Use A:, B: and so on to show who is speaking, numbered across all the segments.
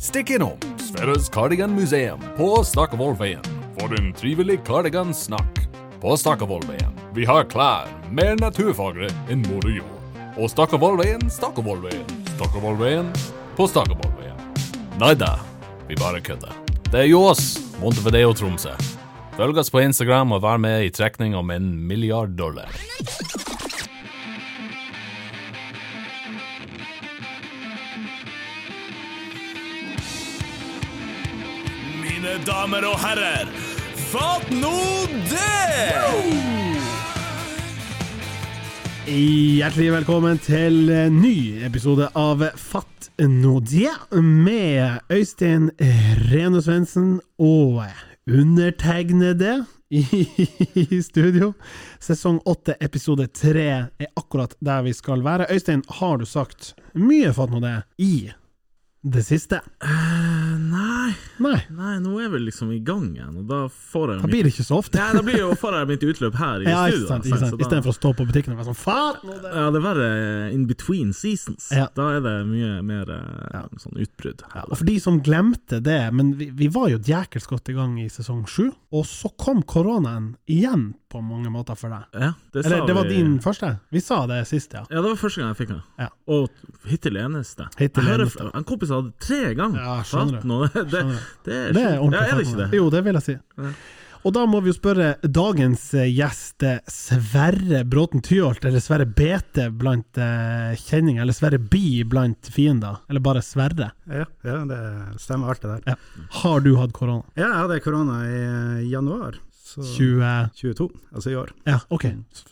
A: Stikk innom Sverres Cardigan Museum på Stakkevollveien for en trivelig cardigansnakk. På Stakkevollveien vi har klær mer naturfagre enn moder jord. Og Stakkevollveien, Stakkevollveien, Stakkevollveien på Stakkevollveien. Nei da, vi bare kødder. Det er jo oss, Montevideo Tromsø. Følg oss på Instagram og vær med i trekning om en milliard dollar.
B: Mine damer og herrer, fatt nå det!
C: Hjertelig velkommen til en ny episode av Fatt nå det, med Øystein Rene Svendsen og undertegnede i studio. Sesong åtte, episode tre er akkurat der vi skal være. Øystein, har du sagt mye Fatt nå det i det siste?
D: Nei,
C: Nei,
D: nei, nå er vi liksom i gang igjen, og da får jeg
C: det blir ikke så ofte.
D: Nei, da blir jo får jeg mitt utløp her i
C: Ja, ikke
D: studio.
C: sant,
D: altså,
C: ikke sant.
D: så da-
C: Istedenfor å stå på butikken og være sånn Fatt nå det!
D: Ja, det er verre in between seasons.
C: Ja.
D: Da er det mye mer eh, sånn utbrudd. her.
C: Og for de som glemte det, men vi, vi var jo djekelsk godt i gang i sesong sju, og så kom koronaen igjen på mange måter for deg.
D: Ja, det sa
C: Eller det var
D: vi-
C: din første? Vi sa det sist, ja.
D: Ja, det var første gang jeg fikk den.
C: Ja.
D: Og hittil eneste.
C: Hittil
D: jeg hører
C: eneste.
D: fra- En kompis hadde tre ganger.
C: Ja, skjønner
D: Fatt
C: du.
D: nå, det, det, er
C: Det
D: sjukt.
C: er ordentlig.
D: Ja, er det
C: fatt
D: ikke
C: nå
D: det?
C: Jo, det vil jeg si. Og da må vi jo spørre dagens eh, gjest, eh, Sverre Bråten Tyholt, eller Sverre BT blant eh, kjenninger, eller Sverre Bi blant fiender, eller bare Sverre.
E: Ja, ja, det stemmer alt det der.
C: Ja. Har du hatt korona?
E: Ja, jeg hadde korona i eh, januar. Så
C: 20
E: 22, altså i år.
C: Ja, OK.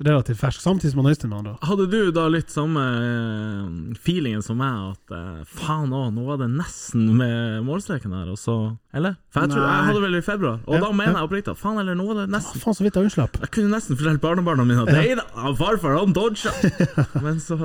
C: Relativt fersk. Samtidig som han Øystein, med andre ord.
D: Hadde du da litt samme eh, feelingen som meg, at eh, faen òg, nå var det nesten med målstreken her, og så Eller? For jeg, tror,
E: Nei.
D: jeg hadde vel i februar, og
C: Ja,
D: da mener jeg oppriktig at faen, eller nå var det nesten
C: Ah, Faen, så vidt jeg unnslapp.
D: Jeg kunne nesten fortalt barnebarna mine at nei da, han farfar han dodga! Men så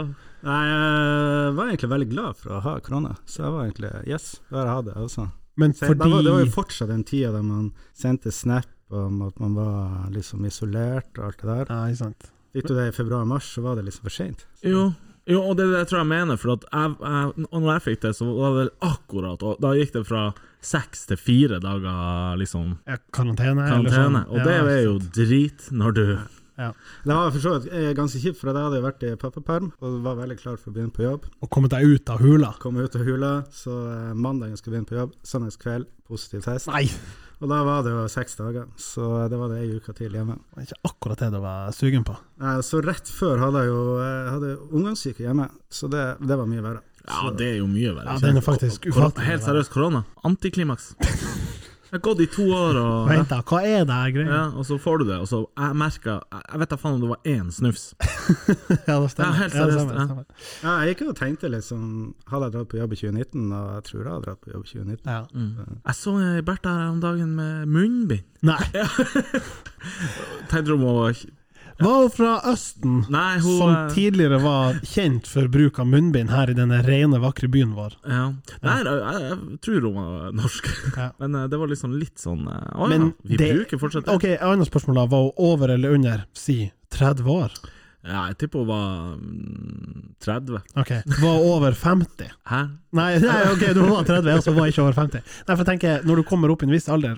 E: Nei, jeg var egentlig veldig glad for å ha korona, så jeg var egentlig yes, da har jeg hatt det altså. også.
C: Men
E: Så det,
C: fordi
E: var, det var jo fortsatt den tida der man sendte snap om at man var liksom isolert og alt det der.
C: Nei, sant.
E: Fikk du det i februar-mars, så var det liksom for seint.
D: Jo. Jo, og det er det jeg tror jeg mener, for at jeg, jeg, og når jeg fikk det, så var det akkurat Og da gikk det fra seks til fire dager, liksom,
C: Ja, karantene. eller
D: karantene.
C: sånn.
D: Og det
C: Ja,
D: er jo drit når du
E: Det var for så vidt eh, ganske kjipt, for jeg hadde jo vært i pappaperm og var veldig klar for å begynne på jobb.
C: Og kommet deg ut av hula.
E: Kom ut av hula, så eh, mandagen skulle begynne på jobb, søndags kveld, positiv test.
C: Nei!
E: Og da var det jo seks dager, så det var det ei uke til hjemme.
C: Det var ikke akkurat det du var sugen på.
E: Nei, Så rett før hadde jeg jo jeg hadde omgangssyke hjemme, så det, det var mye verre.
D: Ja, det er jo mye verre.
C: Ja, den er faktisk
D: Kor-
C: ufattelig
D: Helt
C: verre.
D: seriøst, korona. Antiklimaks. Jeg har gått i to år, og,
C: Vent, da, hva er det her greia?
D: ja, og så får du det. Og så jeg merka jeg, jeg vet da faen om det var én snufs.
C: Ja, det
D: Ja, helt
C: det
D: seriøst,
C: stemmer, det
D: ja.
C: stemmer.
E: Ja, jeg gikk jo og tenkte liksom Hadde jeg dratt på jobb i 2019? Og jeg tror jeg hadde dratt på jobb i 2019.
C: Ja.
D: Jeg så ei Bertha her om dagen med munnbind.
C: Nei.
D: Tenkte du om hun var
C: Var hun fra Østen,
D: Nei, hun
C: som
D: eh,
C: tidligere var kjent for bruk av munnbind her i denne rene, vakre byen vår?
D: ja. Nei, jeg, jeg, jeg tror hun var norsk.
C: Ja.
D: Men eh, det var liksom litt sånn eh, Å ja,
C: Men
D: vi
C: det-
D: bruker fortsatt det.
C: Ok, et annet spørsmål da. Var hun over eller under, si, 30 år?
D: Ja, jeg tipper hun var mm, 30.
C: Ok. Var hun over 50?
D: Hæ?
C: Nei, nei, ok, du var 30, og så var jeg ikke over 50. Nei, for jeg tenker, Når du kommer opp i en viss alder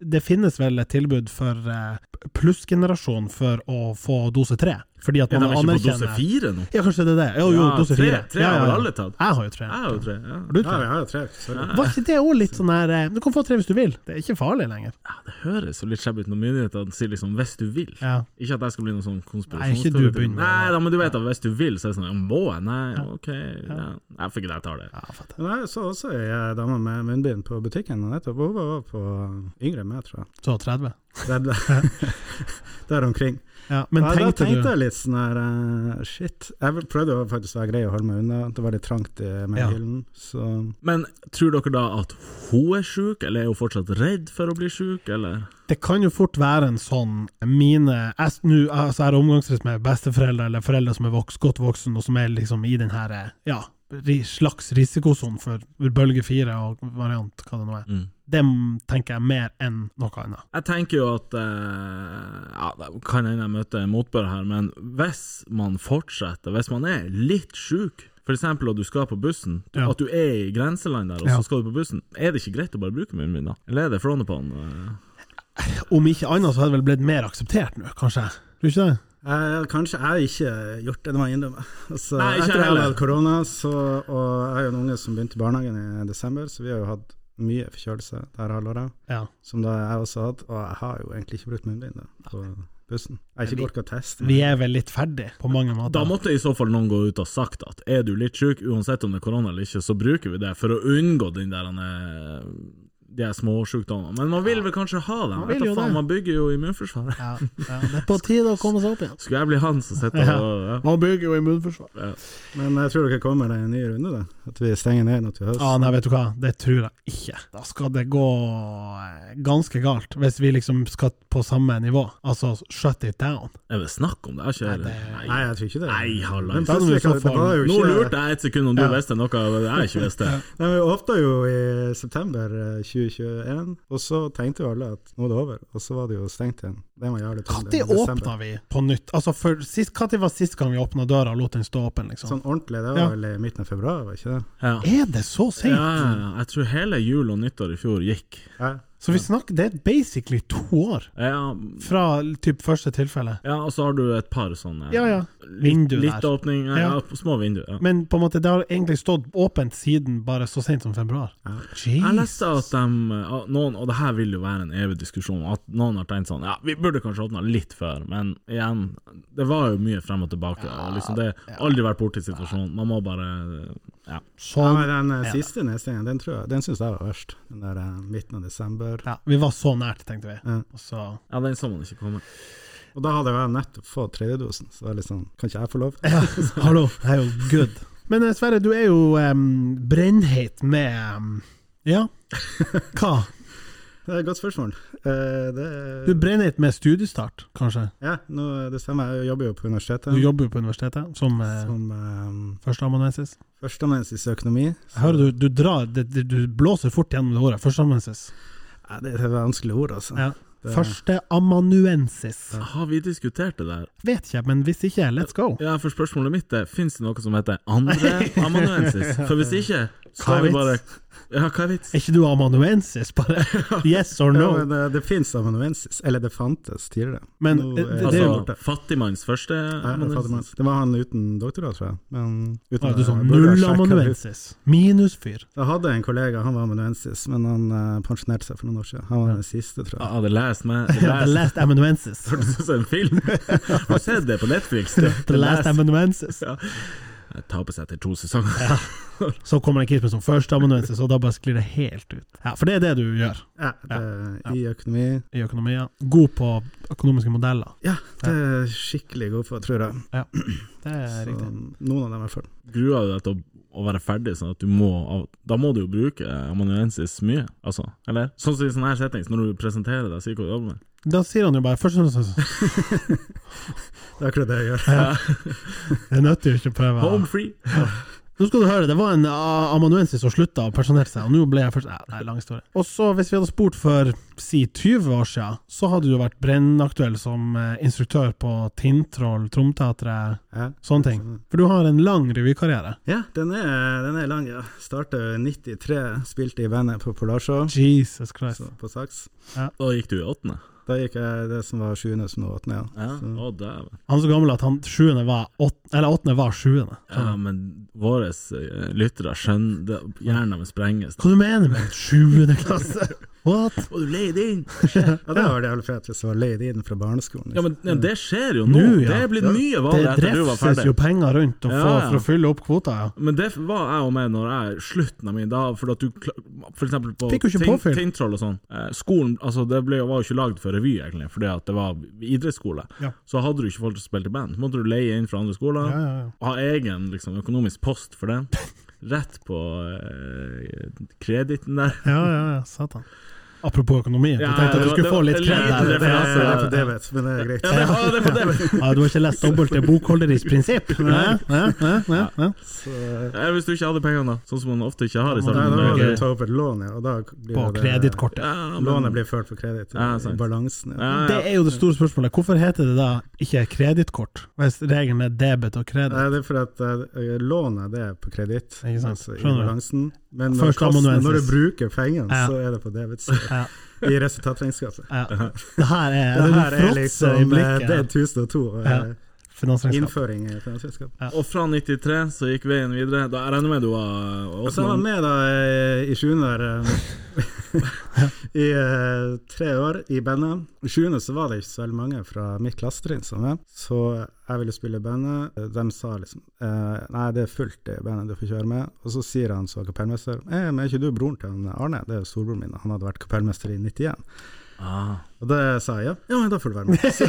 C: Det finnes vel et tilbud for eh, plussgenerasjon for å få dose tre? Fordi at
D: Er
C: man
D: de ikke på dose
C: anerkjenner
D: fire nå?
C: Ja, kanskje det er det. Jo, jo,
D: Ja,
C: dose
D: tre-
C: fire.
D: tre har vel alle tatt?
C: Jeg har jo tre.
D: Jeg er jo tre. Ja.
C: Har du
E: Ja,
C: tre?
E: vi har jo tre. Sorry.
C: Var ikke det òg litt sånn her eh, Du kan få tre hvis du vil. Det er ikke farlig lenger.
D: Det høres jo litt skjebb ut når myndighetene sier liksom 'hvis du vil'.
C: Ja.
D: Ikke at jeg skal bli noen
C: Nei,
D: sånn
C: ikke du
D: konspirasjonsteoretiker.
C: begynner med det.
D: Nei, da, men du vet at hvis du vil, så er det sånn ja, 'må jeg'? Nei, ok. Ja. Jeg får ikke det, jeg tar det.
C: Ja, fatter.
E: Men jeg så også ei eh, dame med munnbind på butikken og nettopp. Hun var også på eh, yngre enn meg, tror jeg.
C: Så 30.
E: Der, der, der omkring.
C: Ja, men
E: ja, da
C: tenkte
E: tenkte
C: du
E: jeg litt sånn her eh, Shit. Jeg prøvde jo faktisk å være grei og holde meg unna. Det var litt trangt i
C: Ja.
E: mellomhyllen, så
D: Men tror dere da at hun er sjuk, eller er hun fortsatt redd for å bli sjuk, eller?
C: Det kan jo fort være en sånn mine Jeg s- nå, altså, jeg har omgangsrett med besteforeldre eller foreldre som er voks, godt voksen, og som er liksom i den her eh, ja, ri- slags risikosonen for bølge fire og variant, hva det nå er. Dem tenker jeg mer enn noe annet.
D: Jeg tenker jo at eh, Ja, det kan hende jeg møter motbør her, men hvis man fortsetter, hvis man er litt sjuk For eksempel at du skal på bussen, du,
C: Ja.
D: at du er i grenseland der, og
C: Ja.
D: så skal du på bussen. Er det ikke greit å bare bruke munnen min, da? Eller er det Fronepon? eh?
C: Om ikke annet så hadde det vel blitt mer akseptert nå, kanskje? Tror du ikke det?
E: Jeg, kanskje jeg har ikke gjort det, det må jeg innrømme. Altså,
D: Nei, ikke
E: etter at jeg
D: heller.
E: hadde hatt korona, så, og jeg har jo en unge som begynte i barnehagen i desember, så vi har jo hatt mye forkjølelse det her halvåret,
C: Ja.
E: som da jeg også har hatt. Og jeg har jo egentlig ikke brukt munnbind da, på bussen. Jeg har ikke orka å teste.
C: Vi er vel litt ferdig på mange måter.
D: Da måtte i så fall noen gå ut og sagt at er du litt sjuk, uansett om det er korona eller ikke, så bruker vi det for å unngå den der eh, de her småsjukdommene. Men man vil vel kanskje ha dem?
C: Man
D: Vet
C: vil jo
D: da faen,
C: det.
D: man bygger jo immunforsvaret.
C: ja, ja, Det er på tide å komme seg opp igjen.
D: Skulle jeg bli han som sitter
C: Ja.
D: og ja.
C: Man bygger jo immunforsvar.
E: Men jeg tror dere kommer deg en ny runde, da. At vi stenger ned nå til høst.
C: Ja, nei, vet du hva, det tror jeg ikke. Da skal det gå eh, ganske galt, hvis vi liksom skal på samme nivå. Altså shut it down.
D: Er det snakk om det?
C: Nei,
D: Jeg har
C: det-
D: ikke Nei.
E: Nei, jeg tror ikke det.
D: Nei, hallais.
E: Men plutselig kan- det var jo
D: Nå lurte
E: ikke-
D: jeg et sekund om du
C: Ja.
D: visste noe av det jeg ikke visste.
E: Nei, Vi åpna jo i september eh, 2021, og så tenkte jo alle at nå er det over. Og så var det jo stengt igjen. Det var jævlig tungt,
C: Når
E: i desember.
C: åpna vi på nytt? Altså, for sist, Når var sist gang vi åpna døra og lot den stå åpen, liksom?
E: Sånn ordentlig, det var
C: Ja.
E: vel i midten av februar, var ikke det?
D: Ja.
C: Er det så
D: Ja,
C: seint?
D: ja, ja. jeg tror hele jul og nyttår i fjor gikk.
E: Ja.
C: Så vi snakker, det er basically to år
D: Ja,
C: fra typ første tilfelle.
D: ja og så har du et par sånne
C: Ja, ja.
D: Litt,
C: Vindu
D: litt
C: der.
D: åpning, ja,
C: Ja.
D: ja, små vindu. Ja.
C: Men på en måte, det har egentlig stått åpent siden bare så sent som februar.
D: Jeg
C: Jeez.
D: leste at de, at noen, og det her vil jo være en evig diskusjon, at noen har tenkt sånn Ja, vi burde kanskje åpna litt før, men igjen, det var jo mye frem og tilbake. og liksom Det har aldri vært borti situasjonen. Man må bare Ja.
E: Ja,
C: Sånn.
E: men den eh, siste nedstengingen, den, tror jeg- den syns jeg var verst. Den der eh, midten av desember.
C: Ja, vi var så nært, tenkte vi.
E: Ja.
C: Og så
D: ja den så man ikke komme.
E: Og da hadde jo jeg nettopp fått tredjedosen, så det var litt sånn Kan ikke jeg få lov?
C: Ja, hallo. Det er jo good. Men eh, Sverre, du er jo um, brennheit med em, Ja, hva?
E: Det er et godt spørsmål. Eh, det
C: Du er brennheit med studiestart, kanskje?
E: Ja, nå, det stemmer. Jeg jobber jo på universitetet.
C: Du jobber jo på universitetet som uh,
E: som eh,
C: førsteamanuensis.
E: førsteamanuensis i økonomi.
C: Jeg hører du, du drar det, det, Du blåser fort gjennom det ordet. Førsteamanuensis.
E: Ja, det er et vanskelig ord, altså.
C: Ja.
E: Det-
C: Førsteamanuensis.
D: Har vi diskutert det der?
C: Vet ikke, men hvis ikke, let's go.
D: Ja, for spørsmålet mitt er Fins det noe som heter andre amanuensis? For hvis ikke,
C: Hva er
D: skal vi
C: vits?
D: bare Ja, hva er vits?
C: Er ikke du amanuensis, bare? Yes or
E: Ja,
C: no?
E: men det, det finnes amanuensis, eller det fantes tidligere.
C: Men
E: Nå
C: eh,
E: er-
C: det, det er jo
D: Altså, fattigmanns første
E: Nei, jeg fatter meg.
D: amanuensis?
E: Det var han uten doktorgrad, tror jeg. Men uten eh,
C: Ah, du sa
E: jeg burde ha
C: null
E: sjekket det ut.
C: amanuensis. Minusfyr.
E: Jeg hadde en kollega, han var amanuensis, men han eh, pensjonerte seg for noen år siden. Han var den siste, tror jeg.
D: Ja, The Last Man The
C: The
D: Last
C: last amanuensis.
D: Hørtes ut som en film! Har du sett det på Netflix?
C: The last amanuensis.
D: Ja. Jeg taper seg etter to sesonger.
C: Så kommer det en kid som førsteamanuensis, og da bare sklir det helt ut. Ja, For det er det du gjør
E: Ja, det, I økonomi.
C: i økonomia. God på økonomiske modeller.
E: Ja, det er jeg skikkelig god på, tror jeg.
C: Det er
E: Så,
C: riktig.
E: noen av dem i hvert fall.
D: Gruer du deg til å, å være ferdig, sånn at du må av- Da må du jo bruke eh, amanuensis mye, altså? Eller? Sånn som i sånne her settings, når du presenterer deg, sier hva du jobber med.
C: Da sier han jo bare førsteamanuensis.
E: Det er akkurat det jeg gjør.
C: Det nytter jo ikke å prøve.
D: Home free!
C: Nå skal du høre, det var en ah, amanuensis som slutta å pensjonere seg, og nå ble jeg først Nei, det er en lang historie. Og så, hvis vi hadde spurt for si 20 år siden, så hadde du vært brennaktuell som eh, instruktør på Tintroll, Tromteatret,
E: Ja.
C: sånne ting. For du har en lang revykarriere.
E: Ja, den er, den er lang, ja. Starta i 93, spilte i bandet på Polarshow,
C: Jesus Christ.
E: så på saks.
D: Da gikk du i åttende?
E: Da gikk jeg det som var sjuende, som nå åttende, ja.
D: Ja. Å, dæven.
C: Han er så gammel at han sjuende var åttende, eller åttende var sjuende.
D: Ja, men våre eh, lyttere skjønner det, Hjernen deres sprenges.
C: Hva du mener med sjuende klasse? What?
D: Og du leid inn!
E: Ja, det var det aller fleste som var leid inn fra barneskolen. liksom.
D: Ja, men ja, det skjer jo nå!
C: Nå, ja.
D: Det er blitt mye vanlig
C: Det
D: etter du var
C: drefses
D: ferdig.
C: jo penger rundt å få,
D: Ja, ja.
C: for å fylle opp kvota, ja.
D: Men det var jeg og meg når jeg slutten av min da, for at du kla- for eksempel på
C: Fikk jo ikke
D: Tin-
C: påfyll.
D: Tintroll og sånn. Eh, skolen altså det ble, jo- var jo ikke lagd for revy, egentlig, fordi at det var idrettsskole.
C: Ja.
D: Så hadde du ikke folk som spilte i band. Så måtte du leie inn fra andre skoler,
C: Ja, ja, ja.
D: ha egen liksom, økonomisk post for den. Rett på eh, kreditten der.
C: Ja, ja, ja, satan. Apropos økonomien.
D: Ja,
C: Jeg tenkte at
D: det
C: du
D: var-
C: skulle få
D: det
C: litt
D: var
C: kred
D: en
C: der.
D: liten
E: Det
D: referanse.
E: er på debit, men det er greit.
D: Ja, det var det på det.
C: Ja, du har ikke lest dobbelte bokholderisk prinsipp? Nei, nei, nei, nei, nei.
E: Så,
D: Eh, Hvis du ikke hadde pengene, da. Sånn som man ofte ikke har i
E: da, da
D: starten.
E: må
D: av
E: du
D: Norge.
E: ta opp et lån, ja. Og da blir
C: På
E: det-
C: kredittkortet.
D: Ja,
E: Lånet blir ført på kreditt.
D: Ja, sant.
E: Balansen. Ja.
D: Ja,
C: Det
D: ja.
C: er jo det store spørsmålet. Hvorfor heter det da ikke kredittkort, hvis regelen er debet og kreditt?
E: Nei, det er for at eh, lånet det er på kreditt,
C: Ikke sant?
E: altså i
C: Skjønner du.
E: balansen. Men når,
C: Først
E: kassen,
C: amanuensis.
E: når du bruker pengene,
C: Ja.
E: så er det på debit.
C: Ja,
E: I resultatregnskapet.
C: ja. Det her er,
E: Det her
C: det
E: er
C: fråtser i
E: liksom eh,
C: blikket.
E: Det er 1002.
C: Ja.
E: eh,
C: Finansregnskap.
E: Innføring i finansselskap.
D: Og fra 93 så gikk veien videre. Da jeg regner med du var
E: Og så var han
D: Åsmund?
E: med da eh, i sjuende der eh, I eh, tre år i bandet. I sjuende så var det ikke så veldig mange fra mitt klassetrinn som var med, så jeg ville spille i bandet. De sa liksom eh, Nei, det er fullt i bandet, du får ikke være med. Og så sier han så kapellmester eh, Men er ikke du broren til han Arne? Det er jo storebroren min, han hadde vært kapellmester i 91.
D: Ah.
E: Og det sa jeg ja. Ja, men da får du være med. Så,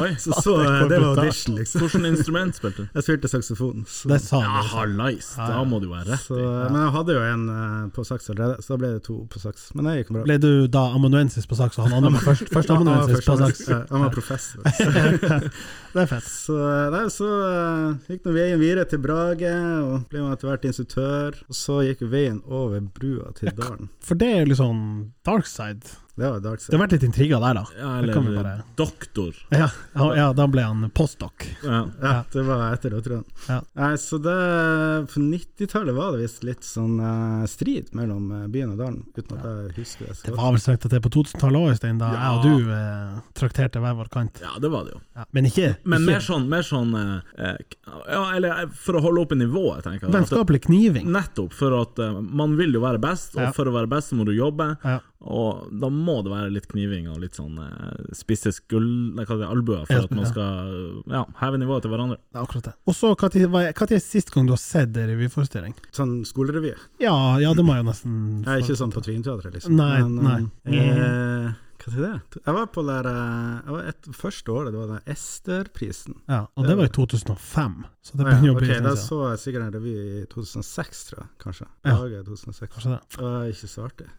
D: Oi.
E: så, så eh, det var audition, liksom.
D: Hvilket instrument spilte du?
E: Jeg spilte saksofon. Så.
C: Det sa
D: Ja,
C: du.
D: hallais! Da må du være rett.
E: Så, men jeg hadde jo en eh, på saks allerede, så da ble det to på saks. Men det gikk bra.
C: Ble du da amanuensis på saks, og han andre var først, først
E: Han var
C: amanuensis på saks?
E: førsteamanuensis. Ja, Han var professor.
C: Det er fett.
E: Så, nei, så eh, gikk nå veien videre til Brage, og ble han etter hvert instruktør. Og så gikk veien over brua til Dalen.
C: For det er jo litt sånn dark side.
E: Det var dark
C: Det
E: side.
C: har vært litt intriger der, da.
D: Ja,
C: Det kan vi
D: eller
C: bare-
D: doktor.
C: Ja, ja, ja da ble han postdoc.
D: Ja.
E: Ja, det var etter det, tror jeg.
C: Ja.
E: Nei, så det På 90-tallet var det visst litt sånn eh, strid mellom eh, byen og dalen, uten at jeg husker det.
C: Det
E: Så.
C: var vel strengt tatt det på 2000-tallet òg, Øystein, da
D: Ja.
C: jeg og du eh, trakterte hver vår kant.
D: ja, det var det jo.
C: Ja. Men ikke,
D: Men mer
C: ikke
D: sånn, mer sånn eh, eh, Ja, eller eh, for å holde oppe nivået, tenker jeg. At-
C: vennskapelig kniving.
D: Nettopp, for at eh, man vil jo være best, og
C: Ja.
D: for å være best så må du jobbe.
C: Ja.
D: Og da må det være litt kniving og litt sånn eh, spisse skull... Nei, hva det er, albuer, for
C: Ja,
D: at man
C: ja.
D: skal ja, heve nivået til hverandre.
C: Det er akkurat det. Og så, når er sist gang du har sett en revyforestilling?
E: Sånn skolerevy.
C: Ja, ja, det må jeg jo nesten
E: Nei, ikke sånn på Tvinteatret, liksom.
C: Nei, Mm. nei.
E: eh, hva til det? Jeg var på der eh, jeg var et, Første året, det var den Ester-prisen.
C: Ja, og det var i 2005, så det
E: Ah,
C: begynner
E: ja,
C: å bli
E: ok,
C: en
E: Da
C: stund siden.
E: så jeg sikkert en revy i 2006, tror jeg. Kanskje.
C: Ja.
E: Laget i 2006.
C: Kanskje det.
E: Det var ikke så artig.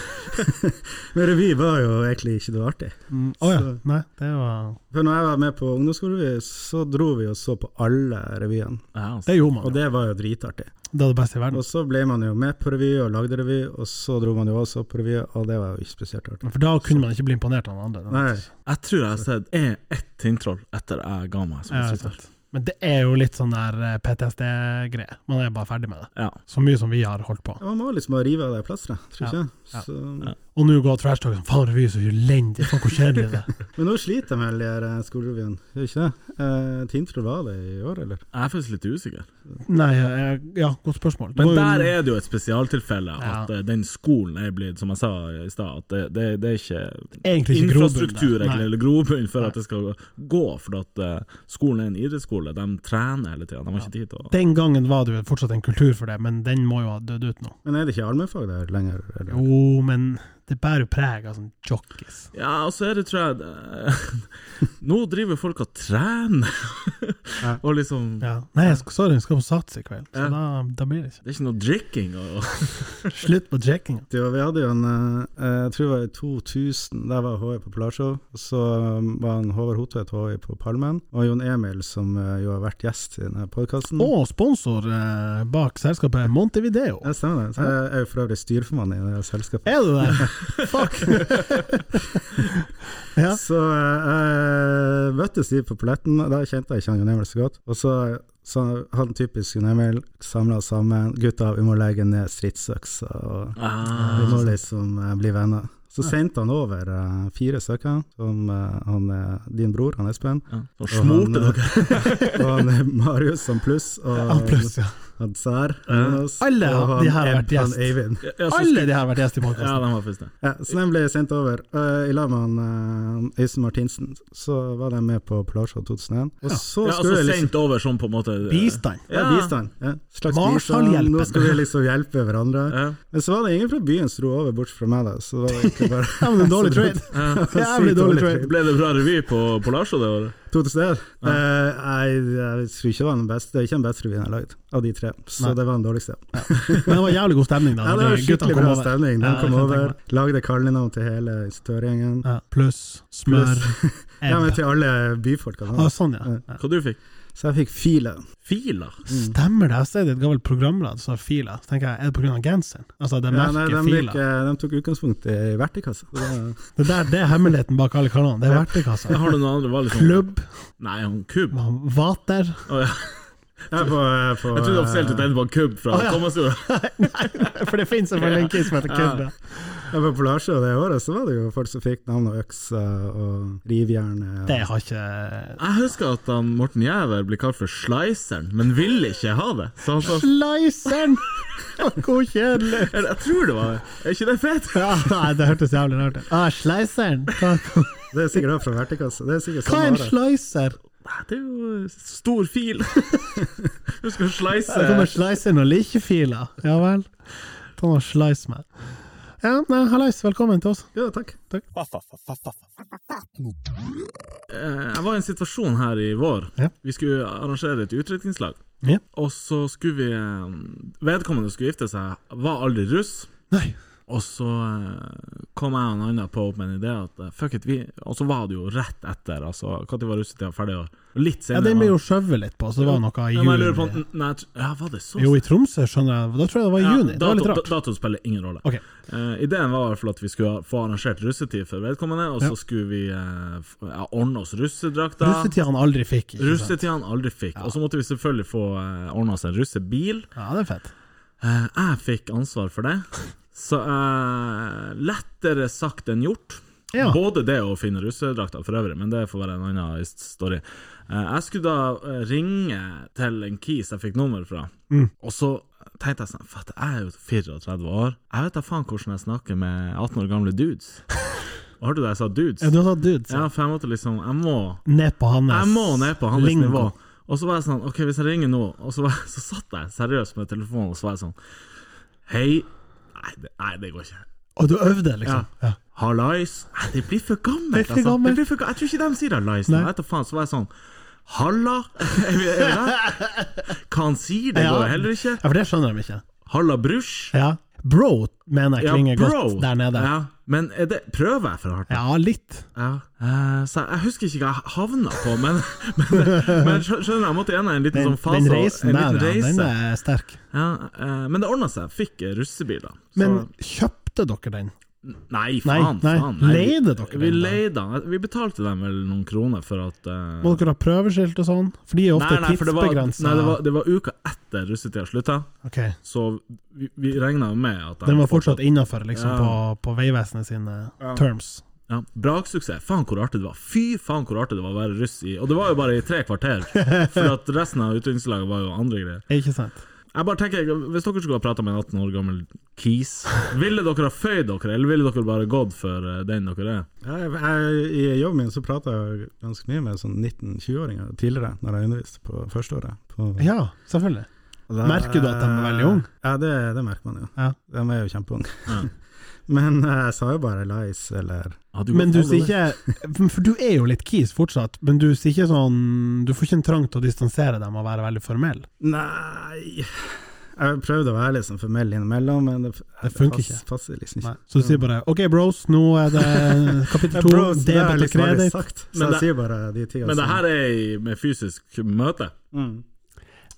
E: Men revy var jo egentlig ikke noe artig.
C: Mm, Å ja.
E: Så-
C: Nei, det var
E: For når jeg var med på ungdomsskolerevy, så dro vi og så på alle revyene.
D: Ja, altså.
C: Det gjorde man.
E: Og
C: jo.
E: det var jo dritartig.
C: Det er det beste i verden.
E: Og så ble man jo med på revy og lagde revy, og så dro man jo også på revy, og det var jo ikke spesielt artig.
C: For da kunne man ikke bli imponert av den andre.
E: Nei,
D: Jeg tror jeg har sett en- ett tinntroll etter jeg ga meg. som
C: Ja,
D: instruktør.
C: Men det er jo litt sånn der eh, PTSD-greie. Man er bare ferdig med det.
D: Ja.
C: Så mye som vi har holdt på.
E: man må liksom bare rive av det plasteret, tror jeg.
C: Ja.
E: Så,
C: Og nå går trash talk som faen, revy er så elendig, faen hvor kjedelig det er.
E: men nå sliter jeg med den der, eh, skolerevyen, gjør ikke det? Eh, Tintroll var det i år, eller?
D: Jeg er faktisk litt usikker.
C: Nei, eh, ja, godt spørsmål. Det
D: Men
C: var
D: der
C: jo-
D: er det jo et spesialtilfelle at
C: Ja.
D: eh, den skolen er blitt, som jeg sa i stad, at det, det, det er ikke
C: egentlig ikke
D: infrastruktur
C: grobunn der.
D: egentlig, liksom.
C: Nei.
D: eller grobunn for at det skal gå. For at eh, skolen er en idrettsskole, de trener hele tida, de har ikke tid til å
C: Den gangen var det jo fortsatt en kultur for det, men den må jo ha dødd ut nå.
E: Men er det ikke allmennfag der lenger? Eller?
C: Jo, men det bærer jo preg av sånn jockeys.
D: Ja, og så er det, tror jeg det- Nå driver folk og trener! og liksom
C: Ja. Nei, jeg skal, sorry, jeg skal på Sats i kveld, så
D: Ja.
C: da, da blir det ikke.
D: Det er ikke noe drikking. Og,
C: Slutt på jackinga.
E: Ja, vi hadde jo en eh, Jeg tror det var i 2000, der var HI på Polarshow. Og så um, var han Håvard Hotvedt HI på Palmen, og Jon Emil, som eh, jo har vært gjest i denne podkasten.
C: Og sponsor eh, bak selskapet Montevideo.
E: Ja, stemmer det. Så Jeg er jo for øvrig styreformann i det her selskapet.
C: Er du det? Fuck! ja.
E: Så eh, jeg møttes de på polletten, og da kjente jeg ikke han Jon Emil så godt. Og så sa han typisk Jon Emil, samla oss sammen, gutta, vi må legge ned stridsøksa. og
D: Ah,
E: Vi
C: Ah.
E: må liksom eh, bli venner. Så sendte han over eh, fire stykker, som eh, han, eh, din bror, han Espen,
D: ja, så
E: Og han,
D: smorte dere.
E: eh, og han eh, Marius han pluss, og
C: Ja, pluss, ja.
E: han Sær.
C: Alle
E: og
C: de her har
E: Ebb,
C: vært gjest.
E: Han Eivind.
D: Ja, så
C: Alle de her har vært gjest i
D: skulle- Ja,
C: podkasten.
D: de var faktisk det.
E: Ja, så den ble sendt over. eh, I lag med han eh, Øystein Martinsen så var de med på Polarshow 2001. Og så
D: Ja,
E: skulle
D: altså
E: vi liksom
D: sendt over sånn på en måte
C: Bistand.
E: ja,
D: Ja.
E: bistand. Ja. Slags bistand.
C: Marshallhjelpen.
E: Nå skal vi liksom hjelpe hverandre.
D: Ja.
E: Men så var det ingen fra byen som dro over, bortsett fra meg, da. Så det var egentlig bare
C: Ja, men en dårlig trade.
E: Så
C: Jævlig dårlig trade.
D: Ble det bra revy på Polarshow det året?
E: To til stede? Eh, jeg, jeg tror ikke det var den beste. Det er ikke den beste revyen jeg har lagd, av de tre. Så
C: Nei.
E: det var den dårligste.
C: Men det var jævlig god stemning, da.
E: Ja, det
C: når
E: var
C: de
E: skikkelig
C: guttene kom
E: bra
C: over.
E: stemning.
C: Ja, det
E: De
C: kan
E: kom
C: jeg
E: over,
C: tenke
E: lagde kallenavn til hele instruktørgjengen.
C: meg. Ja, Pluss smør,
E: Ja, men
C: ebb.
E: til alle byfolkene.
C: Ah,
E: da.
C: sånn, ja. ja.
D: Hva du fikk
E: Så jeg fikk filer.
D: Filer?
C: Stemmer det? Jeg ser det er et gammelt programblad som har filer. Så tenker jeg, er det pga. genseren? Altså, det
E: Ja,
C: merker
E: nei, de,
C: filer.
E: gikk, eh, de tok utgangspunkt i vertikassa. Det var-
C: Det der det er hemmeligheten bak alle kanalene. Det er vertikassa.
D: Har du noen andre var litt sånn
C: Klubb,
D: Nei, han kubb.
C: vater
D: Å, ja.
E: Jeg, på, eh, på,
D: Jeg trodde offisielt
E: eh,
D: at den var kubb fra
C: Å, ja.
D: Thomas Jord.
C: For det finnes selvfølgelig en kid som heter Kubb. ja.
E: eh, jeg var på Polarsjø det året, så var det jo folk som fikk navn og økser og rivjern.
C: Det har ikke
D: Jeg husker at han, Morten Jæver ble kalt for Sliceren, men ville ikke ha det. Så han sa
C: Sliceren! Hvor kjedelig!
D: Jeg, jeg tror det var det. Er ikke det fett?
C: Ja, nei, det hørtes jævlig rart ut. Ah, Sliceren! Hva,
E: Det er sikkert da fra vertikassa. Det er sikkert
C: hva er en
E: samme året.
C: slicer?
D: Nei, det er jo eh, stor fil. Du skal slice
C: Jeg kommer slice noen likefiler. Ja vel. Ta nå og slice meg. Ja, nei, hallais, velkommen til oss.
E: Ja, takk.
D: Eh, Jeg var i en situasjon her i vår.
C: Ja.
D: Vi skulle arrangere et utdrikningslag.
C: Ja.
D: Og så skulle vi eh, Vedkommende skulle gifte seg, var aldri russ.
C: Nei.
D: Og så eh, kom jeg og en annen på opp med en idé at eh, fuck it, vi Og så var det jo rett etter, altså. Når var russetida ferdig? Og litt
C: Ja,
D: senere.
C: den ble jo skjøvet litt på, så det var noe i
D: Ja, men jeg lurer på
C: juni.
D: om- Nei, jeg tr- ja, var det så
C: Jo, i Tromsø, skjønner jeg. Da tror jeg det var i
D: Ja,
C: juni. Det var litt
D: dato-
C: rart.
D: da- Dato spiller ingen rolle.
C: Ok.
D: Eh, ideen var i hvert fall at vi skulle få arrangert russetid for vedkommende, og så
C: Ja.
D: skulle vi eh, f- ja, ordne oss russedrakter.
C: Russetida han aldri fikk. ikke sant?
D: Russetida han aldri fikk. Og så måtte vi selvfølgelig få eh, ordna oss en russebil.
C: Ja, det er fett.
D: Eh, jeg fikk ansvar for det. Så eh, lettere sagt enn gjort.
C: Ja.
D: Både det og å finne russedrakta for øvrig, men det får være en annen his- story. Eh, jeg skulle da eh, ringe til en kis jeg fikk nummer fra,
C: Mm.
D: og så tenkte jeg sånn For jeg er jo 34 år. Jeg vet da faen hvordan jeg snakker med 18 år gamle dudes. Hørte du det jeg sa dudes?
C: Ja, du har tatt dude, så.
D: Ja, for jeg måtte liksom Jeg må
C: Ned på hans
D: jeg må ned på hans
C: lingo.
D: nivå. Og så var jeg sånn OK, hvis jeg ringer nå Og så, var, så satt jeg seriøst med telefonen, og så var jeg sånn Hei Nei, det, nei, det går ikke.
C: Og du øvde, liksom? Ja.
D: Hallais. Nei, det blir for gammelt.
C: Det er for
D: altså.
C: gammelt.
D: Det blir for, ga- jeg tror ikke de sier hallais. nå.
C: Nei.
D: Vet du faen, så var jeg sånn Halla? Er vi, er vi der? Hva han sier, det
C: Ja.
D: går jo heller ikke.
C: ja, for det skjønner de ikke.
D: Halla brusj.
C: Ja. Bro mener jeg klinger godt der nede. Ja,
D: Ja, men er det, prøver jeg for hardt?
C: litt.
D: Ja. eh, så jeg, jeg husker ikke hva jeg havna på, men, men, men skjø- skjønner du, jeg måtte gjennom en liten
C: Den,
D: sånn fase.
C: den
D: og-
C: reisen
D: en
C: der, ja,
D: liten
C: den
D: reise.
C: er sterk.
D: Ja, eh, men det ordna seg. Jeg Fikk eh, russebiler.
C: Men kjøpte dere den?
D: så,
C: Nei,
D: nei, faen,
C: nei.
D: faen.
C: Leide dere
D: vi, vi
C: den da?
D: leide den. Vi betalte dem vel noen kroner for at eh,
C: Må dere ha prøveskilt og sånn? For de er ofte
D: for det var,
C: tidsbegrensa.
D: nei, det var, det var uka etter russetida slutta,
C: Ok,
D: så vi, vi regna med at de-
C: Den var fortsatt innafor, liksom,
D: Ja.
C: på, på Vegvesenet sine terms.
D: ja, Braksuksess. Faen, hvor artig det var. Fy faen, hvor artig det var å være russ i Og det var jo bare i tre kvarter, for at resten av utrykningslaget var jo andre greier.
C: Ikke sant?
D: Jeg bare tenker, Hvis dere skulle ha prata med en 18 år gammel kis, ville dere ha føyd dere, eller ville dere bare gått for eh, den dere er?
E: Jeg, jeg, I jobben min så prata jeg ganske mye med sånn 19-20-åringer tidligere, når jeg underviste på førsteåret. På-
C: Ja, selvfølgelig.
E: Og da-
C: Merker du at de er veldig unge?
E: Ja, det, det merker man jo.
C: Ja.
E: De er jo kjempeunge.
D: Ja.
E: Men eh, jeg sa jo bare lies, eller
D: Ja,
C: Men du sier ikke For du er jo litt kis fortsatt, men du sier ikke sånn Du får ikke en trang til å distansere dem og være veldig formell.
E: Nei Jeg prøvde å være litt sånn formell innimellom, men det,
C: Det funker
E: pass-
C: ikke.
E: passer liksom ikke.
C: Nei. Så du sier bare OK, bros, nå er det kapittel to,
E: Bro, så det har jeg
C: debet og
E: liksom aldri
C: kredit.
E: sagt, så
D: Men
E: jeg
D: det-
E: sier bare de tingene
D: Men det
E: som-
D: her er i- med fysisk møte?
E: Mm.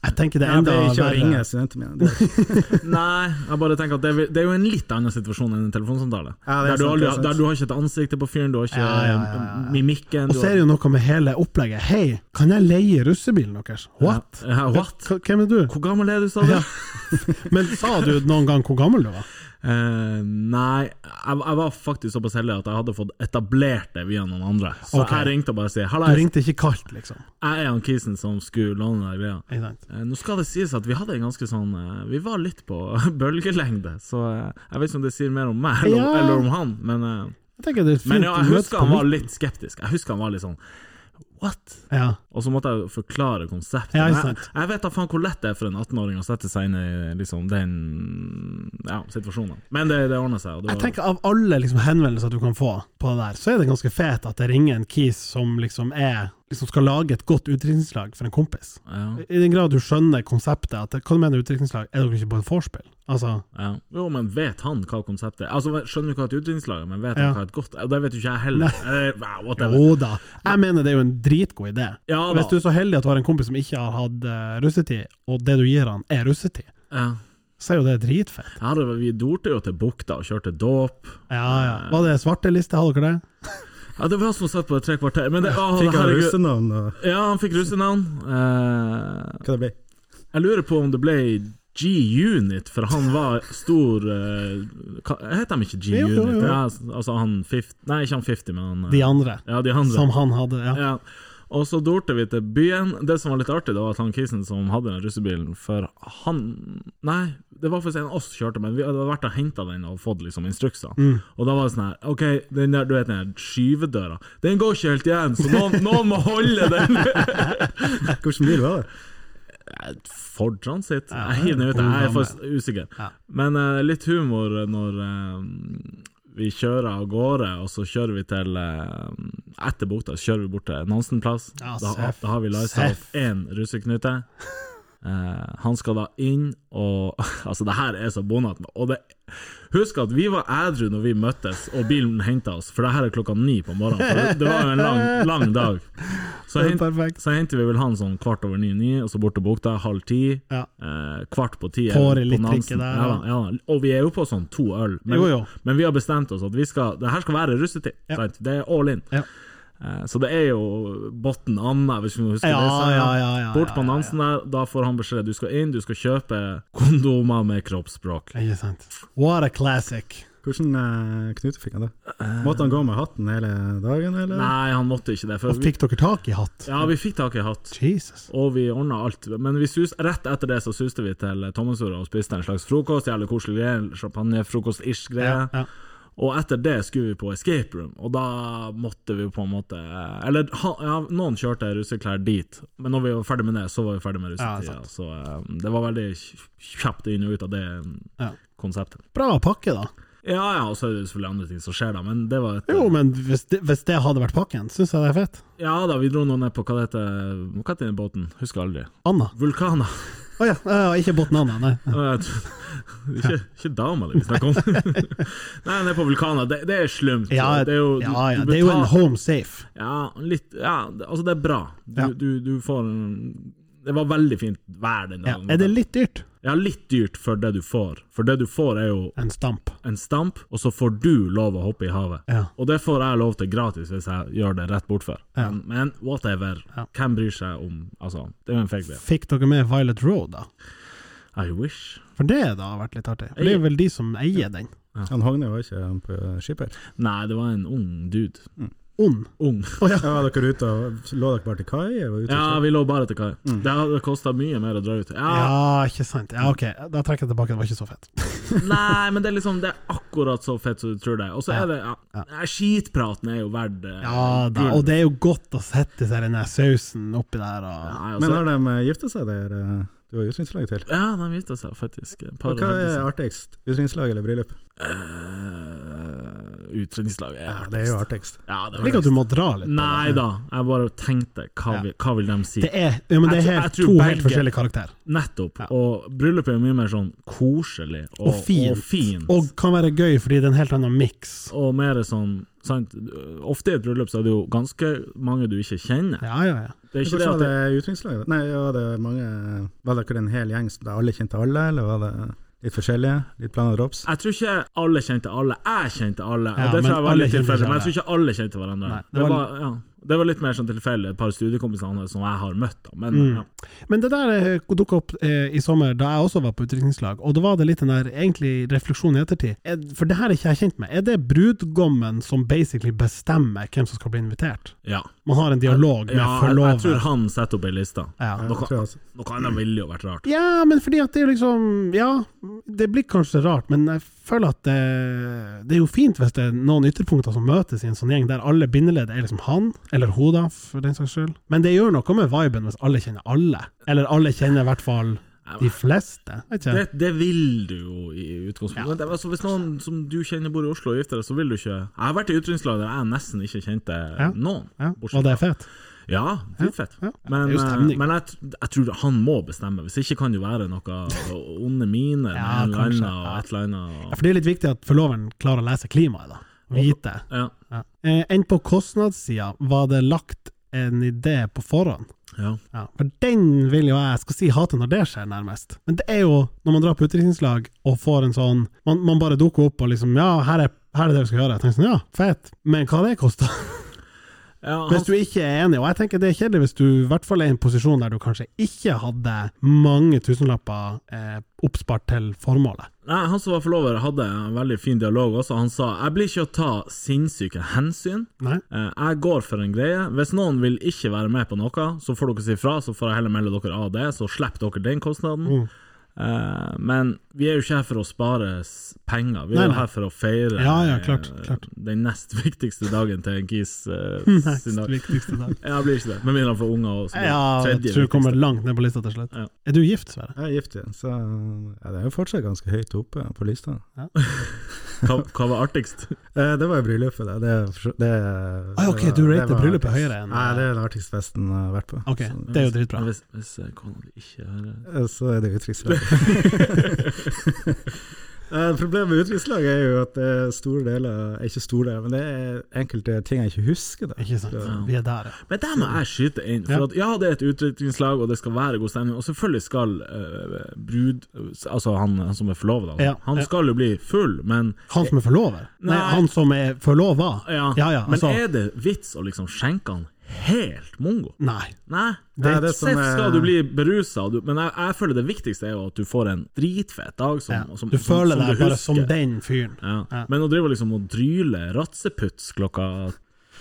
C: Jeg tenker det er
E: Ja, det
C: enda
E: er ikke å ringe
C: verre.
E: studentene mine. Det er-
D: Nei, jeg bare tenker at det, er- det er jo en litt annen situasjon enn en telefonsamtale.
E: Ja, det
D: der, du
E: er sant,
D: aldri,
E: det er sant.
D: der du har ikke et ansikte på fyren, du har ikke
C: Ja, ja, ja, ja, ja.
D: mimikken
C: Og så er det jo noe med hele opplegget. Hei, kan jeg leie russebilen deres? What?
D: Ja, ja, what?
C: Hva- Hvem er du?
D: Hvor gammel er du, sa du?
C: Ja. Men sa du noen gang hvor gammel du var?
D: Eh, nei, jeg, jeg var faktisk såpass heldig at jeg hadde fått etablert det via noen andre. Så
C: Ok.
D: jeg ringte og bare sier
C: Du
D: Hallais,
C: ringte ikke kaldt, liksom.
D: jeg er han kisen som skulle låne deg greia.
C: Ikke sant?
D: Eh, Nå skal det sies at vi hadde en ganske sånn eh, Vi var litt på bølgelengde, så eh, jeg vet ikke om det sier mer om meg eller,
C: Ja.
D: eller om han, men, eh,
C: Jeg tenker det er fint
D: men ja,
C: å
D: jeg
C: møtes
D: husker
C: på
D: han var
C: midten.
D: litt skeptisk. Jeg husker han var litt sånn What?
C: ja.
D: Og så måtte jeg forklare konseptet.
C: Ja, ikke
D: jeg,
C: sant.
D: jeg vet da faen hvor lett det er for en 18-åring å sette seg inn i liksom, den ja, situasjonen. Men det, det ordna seg. Og det
C: Jeg
D: var,
C: tenker Av alle liksom henvendelser du kan få på det der, så er det ganske fet at det ringer en kis som liksom er liksom skal lage et godt utdrikningslag for en kompis.
D: Ja,
C: I den grad du skjønner konseptet, at hva du mener utdrikningslag, er dere ikke på et vorspiel? Altså,
D: ja. Jo, men vet han hva konseptet er? Altså, skjønner du hva et utdrikningslag er, men vet
C: Ja.
D: han hva et godt er? Det vet jo ikke jeg heller. Eh, wow, whatever.
C: jo da. Jeg mener det er jo en dritgod idé.
D: Ja da.
C: Hvis du er så heldig at du har en kompis som ikke har hatt eh, russetid, og det du gir han er russetid,
D: Ja.
C: så er jo det dritfett.
D: Her, er vi- vi dorte jo til bukta og kjørte dåp.
C: Ja, ja. Var det svarteliste, hadde dere det?
D: Ja, det var som satt på et tre kvarter. Men det, å,
E: Fikk han
D: herregud.
E: russenavn og
D: Ja, han fikk russenavn. Eh,
E: hva det ble?
D: jeg lurer på om det ble G-Unit, for han var stor eh, hva- Heter de ikke
C: Jo, jo,
D: G-Unit?
C: jo.
D: Ja, altså han 50 Nei, ikke han 50, men han eh,
C: De andre,
D: Ja, de andre.
C: som han hadde. Ja.
D: Ja. Og så dorte vi til byen. Det som var litt artig, det var at han kisen som hadde den russebilen, for han Nei, det var faktisk en av oss som kjørte, men vi hadde vært og henta den og fått liksom instrukser.
C: Mm.
D: Og da var det sånn her OK, den der, du vet den der skyvedøra, den går ikke helt igjen, så noen, noen må holde den!
E: Hvilken bil var det?
D: Ford Transit? Jeg hiver den ut, jeg er faktisk usikker. Men eh, litt humor når eh, vi kjører av gårde, og så kjører vi til eh, Etter bukta så kjører vi bort til Nansenplass.
C: Ja,
D: da,
C: seff.
D: da har vi lista
C: Seff.
D: opp én russeknute. Eh, han skal da inn og Altså, det her er så bonat Og det, husk at vi var ædru når vi møttes og bilen henta oss, for det her er klokka ni på morgenen. For det, det var jo en lang, lang dag. Så,
C: Det er
D: hent,
C: perfekt.
D: så henter vi vel han sånn kvart over ni-ni, og så bort til bukta halv ti.
C: Ja.
D: Eh, kvart på ti.
C: Får
D: er vi
C: litt
D: på Nansen.
C: drikke der,
D: Ja, da, ja. da. Og vi er jo på sånn to øl, men,
C: Jo, jo.
D: men vi har bestemt oss at vi skal, det her skal være russetid.
C: Ja.
D: sant? Det er all in.
C: Ja.
D: Eh, Så det er jo botten anna, hvis vi husker
C: Ja,
D: det. så-
C: ja, ja, ja, ja,
D: Bort på
C: ja,
D: Nansen der, da får han beskjed. Du skal inn, du skal kjøpe kondomer med kroppsspråk.
C: Ikke sant. What a classic.
E: Hvordan eh, knute fikk han det? Måtte han gå med hatten hele dagen, eller?
D: Nei, han måtte ikke det. For
C: Og
D: vi,
C: fikk dere tak i hatt?
D: ja, vi fikk tak i hatt.
C: Jesus.
D: Og vi ordna alt. Men vi sus, rett etter det så suste vi til Tommensura og spiste en slags frokost. Jævlig koselig greie. Champagnefrokost-ish greie.
C: Ja, ja.
D: Og etter det skulle vi på escape room, og da måtte vi på en måte Eller han- ja, noen kjørte russeklær dit, men når vi var ferdig med det, så var vi ferdig med
C: Ja,
D: russetida.
C: sant.
D: så eh, det var veldig kj- kjapt inn og ut av det eh,
C: Ja.
D: konseptet.
C: Bra pakke, da.
D: Ja ja, og så er det jo selvfølgelig andre ting som skjer, da, men det var et
C: Jo, men hvis det, hvis det hadde vært pakken, syns jeg det er fett.
D: Ja da, vi dro nå ned på hva det heter Hva heter den båten? Husker aldri.
C: Anna.
D: Vulkaner.
C: Å ja, ja, ja, ikke Botten Anna, nei.
D: Å, jeg tror- ikke, ikke dama det vi snakker om. Nei, nede på vulkaner. Det, det er slumt.
C: Ja,
D: det er jo, du-
C: ja, ja,
D: du
C: det er jo en
D: betaler-
C: home safe.
D: Ja, litt Ja, det- altså, det er bra. Du,
C: Ja.
D: du, du får en Det var veldig fint vær den
C: Ja.
D: dagen.
C: Er det litt dyrt?
D: ja, litt dyrt for det du får. For det du får, er jo
C: En stamp.
D: en stamp, og så får du lov å hoppe i havet.
C: Ja.
D: Og det får jeg lov til gratis hvis jeg gjør det rett bortfor.
C: Ja.
D: Men, men whatever. Hvem bryr seg om Altså, det er jo en fake deal.
C: Fikk dere med Violet Road, da?
D: I wish.
C: For det da har vært litt artig. For det er vel de som eier den.
E: Han Hogne var ikke han på skipet?
D: Nei, det var en ung dude.
C: Ond.
D: Ung.
E: Ja, var dere ute og Lå dere bare til kai? eller var dere ute og
D: Ja, vi lå bare til kai. Det hadde kosta mye mer å dra ut. Ja,
C: Mm. Ja, ikke sant. Ja, ok, da trekker jeg tilbake, det var ikke så fett.
D: Nei, men det er liksom Det er akkurat så fett som du tror det er. Og så er det ja, nei, Skitpraten er jo verdt eh,
C: Ja da,
D: gull.
C: og det er jo godt å sette seg den der sausen oppi der og
D: Nei,
E: kjøpte?
D: altså,
E: Men har de eh, gifta seg der eh, du var utdrikningslag til?
D: Ja, de gifta seg faktisk. Et par
E: Hva er
D: hendelser.
E: artigst? Utdrikningslag eller bryllup?
D: Eh, Utdrikningslaget er
E: Det er jo
D: artigst.
E: artigst.
D: Ja, det
C: Jeg liker at du må dra litt. på det.
D: Nei da, jeg bare tenkte hva,
C: Ja.
D: vil, hva vil de si?
C: Det er, ja, men det
D: Jeg
C: er
D: tror-
C: helt,
D: jeg tror
C: to
D: begge-
C: helt forskjellige karakterer.
D: Nettopp.
C: Ja.
D: Og bryllupet er jo mye mer sånn koselig og,
C: Og fint.
D: Og, fint.
C: Og kan være gøy, fordi det er en helt annen miks.
D: og mer sånn sant? Ofte i et bryllup så er det jo ganske mange du ikke kjenner.
C: Ja, ja, ja.
D: Det er ikke det
E: Hvordan
D: at
E: var
D: det,
E: det utdrikningslag? da? Nei, var det mange Var dere en hel gjeng som da alle kjente alle, eller var det litt forskjellige? Litt blanda drops?
D: Jeg tror ikke alle kjente alle. Jeg kjente alle, og
C: Ja,
D: det
C: men
D: tror jeg var
C: alle
D: litt
C: kjente
D: tilfeldig. Men jeg
C: hverandre.
D: tror ikke alle kjente hverandre.
C: Nei, det
D: det,
C: var-
D: var, ja, det var litt mer sånn tilfeldig. Et par studiekompiser han har- som jeg har møtt, da. Men
C: Mm.
D: ja.
C: Men det der eh, dukka opp eh, i sommer, da jeg også var på utdrikningslag, og da var det litt den der egentlig refleksjonen i ettertid. Er, for det her er ikke jeg kjent med. Er det brudgommen som basically bestemmer hvem som skal bli invitert?
D: ja.
C: Man har en dialog med
D: ja jeg, jeg tror
C: forlover.
D: han setter opp ei liste.
C: Ja.
E: Jeg tror altså-
D: Noe annet ville jo vært rart.
C: ja, men fordi at det er jo liksom Ja, det blir kanskje rart, men jeg føler at det, det er jo fint hvis det er noen ytterpunkter som møtes i en sånn gjeng, der alle bindeledd er liksom han, eller hun, da, for den saks skyld. Men det gjør noe med viben hvis alle kjenner alle, eller alle kjenner i hvert fall de fleste. Vet ikke.
D: Det, det vil du jo i utgangspunktet. Men det, altså, hvis noen som du kjenner bor i Oslo og gifter deg, så vil du ikke Jeg har vært i utdrikningslag der jeg nesten ikke kjente
C: Ja.
D: noen.
C: Ja,
D: bortsett
C: var det
D: fra-
C: fett?
D: Ja, dritfett.
C: Ja, ja.
D: Men,
C: Det er jo
D: eh,
C: stemning.
D: men jeg, tr- jeg tror han må bestemme, hvis ikke kan det jo være noe onde miner
C: Ja,
D: med en eller
C: kanskje.
D: annen og et eller
C: Ja,
D: annet.
C: For det er litt viktig at forloveren klarer å lese klimaet, da. Vite.
D: Ja,
C: Ja. Eh, Enn på kostnadssida, var det lagt en idé på forhånd?
D: ja.
C: Ja, for den vil jo jeg skal si hater når det skjer, nærmest. Men det er jo når man drar på utdrikningslag og får en sånn man, man bare dukker opp og liksom Ja, her er, her er det vi skal gjøre. Jeg tenker sånn, ja, fett, men hva det koster?
D: ja han,
C: Hvis du ikke er enig, og jeg tenker det er kjedelig hvis du i hvert fall er i en posisjon der du kanskje ikke hadde mange tusenlapper eh, oppspart til formålet.
D: nei, han som var forlover, hadde en veldig fin dialog også. Han sa 'jeg blir ikke å ta sinnssyke hensyn'.
C: Nei?
D: Eh, Jeg går for en greie. Hvis noen vil ikke være med på noe, så får dere si fra, så får jeg heller melde dere av det, så slipper dere den kostnaden.
C: Mm.
D: Eh, men vi er jo ikke her for å spare s- penger, vi
C: Nei,
D: er jo
C: nei.
D: her for å feire
C: Ja, ja, klart,
D: eh,
C: klart.
D: den nest viktigste dagen til en kis eh,
C: Nest
D: sin dag.
C: viktigste dag.
D: Ja, det blir ikke det, med mindre han får unger. og så blir det
C: Ja, jeg
D: tredje
C: tror jeg kommer
D: viktigste.
C: langt ned på lista til slutt.
D: Ja.
C: Er du gift, Sverre?
E: Jeg er gift igjen, så ja, det er jo fortsatt ganske høyt oppe på lista.
D: Hva, hva var artigst?
E: Eh, det var jo bryllupet, da. Det, er for- det, er-
C: Ah, ok,
E: det var-
C: du
E: det
C: rater
E: var
C: bryllupet
E: artigst.
C: høyere enn- eh, Ah.
E: Nei, det er den artigste festen jeg har vært på.
C: Ok,
E: Så,
C: det er jo dritbra.
D: Hvis, hvis eh, kona di ikke hører
E: eh, så er det utdrikkslaget. Eh, Problemet med utdrikkslaget er jo at det er store deler Ikke store deler, men det er enkelte ting jeg ikke husker. Da.
C: Ikke sant? Vi er der, ja.
D: Men der må jeg skyte inn. For
C: Ja.
D: at, ja, det er et utviklingslag, og det skal være god stemning. Og selvfølgelig skal eh, brud Altså han, han som er forlovet, altså.
C: Ja,
D: Han
C: ja.
D: skal jo bli full, men
C: Han som er forlover? Nei,
D: Nei.
C: han som er forlova?
D: ja,
C: ja, ja
D: Men
C: altså,
D: er det vits å liksom skjenke han helt mongo?
C: Nei.
D: Nei.
E: Det er det
D: Sett
E: som er-
D: skal du bli berusa, du- men jeg, jeg føler det viktigste er jo at du får en dritfet dag som,
C: Ja.
D: som,
C: Du
D: som,
C: føler
D: som
C: deg
D: du
C: bare som
D: husker.
C: den fyren.
D: Ja.
C: Ja.
D: Men å drive liksom og dryle ratseputs klokka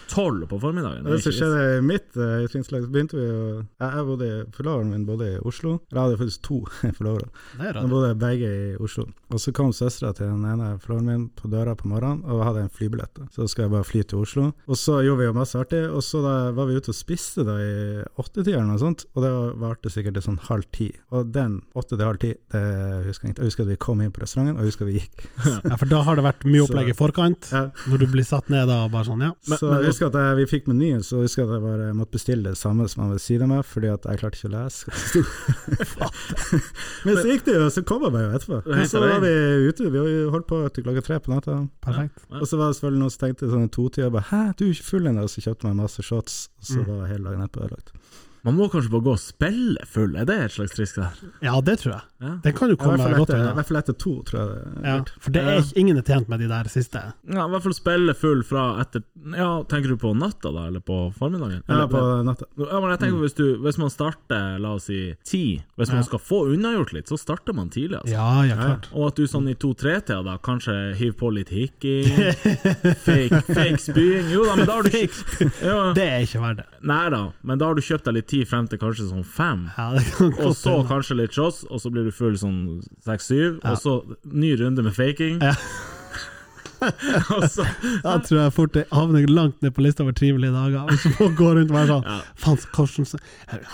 D: tolv på formiddagen
E: Det som
D: ikke vits.
E: skjedde i mitt eh, utdrikningslag, så begynte vi jo Jeg, jeg bodde, Forloveren min bodde i Oslo. Jeg hadde faktisk to forlovere.
C: Det er
E: De
C: rart.
E: bodde begge i Oslo. Og så kom søstera til den ene forloveren min på døra på morgenen og hadde en flybillett. da. Så skal jeg bare fly til Oslo. Og så gjorde vi jo masse artig, og så da var vi ute og spiste da i åttetida eller noe sånt, og det var- varte sikkert til sånn halv ti. Og den åtte til halv ti, det husker jeg ikke. Jeg husker at vi kom inn på restauranten, og jeg husker vi gikk.
C: Ja, for da har det vært mye opplegg i forkant,
E: Ja.
C: når du blir satt ned da og bare sånn, ja.
D: Men-
E: så
D: men-
E: jeg husker at jeg, vi fikk menyen, så jeg husker at jeg bare måtte bestille det samme som han ved siden av meg, fordi at jeg klarte ikke å lese. hva det sto. Men så gikk det jo, så kom jeg meg jo etterpå.
D: er helt
E: Og så var vi ute, vi holdt på til klokka tre på natta.
C: Perfekt.
D: Ja.
E: Og så var det selvfølgelig noen som tenkte sånn i totida bare 'hæ, du er ikke full ennå', og så kjøpte jeg meg masse shots, og så var hele dagen etterpå ødelagt.
D: Man må kanskje bare gå og spille full, er det et slags triks der?
C: Ja, det tror jeg.
D: Ja.
C: Det kan jo
E: Ja, I
C: komme
E: hvert
C: deg
E: fall
C: godt
E: etter, i
C: unna.
E: hvert fall etter to, tror jeg.
C: Ja, for det er ikke, ingen er tjent med de der siste.
D: Ja, I hvert fall spille full fra etter Ja, tenker du på natta da, eller på formiddagen?
E: Ja,
D: Eller-
E: på Mm. natta.
D: ja, men jeg tenker hvis, du, hvis man starter, la oss si ti Hvis man skal få unnagjort litt, så starter man tidlig. Altså.
C: Ja, ja, klart.
D: Og at du sånn i to-tre-tida da kanskje hiver på litt hikking, fake, fake spying Jo da, men da har du ikke ja.
C: Det er ikke verdt det.
D: Nei da, men da har du kjøpt deg litt tid frem til kanskje sånn fem.
C: Ja, det kan
D: Og
C: godt
D: så
C: hende.
D: kanskje litt shots, og så blir du full sånn seks-syv, og så ny runde med faking.
C: Ja.
D: og så
C: Da tror jeg fort det havner langt ned på lista over trivelige dager. Hvis man går rundt og er sånn Faen, Karsten så-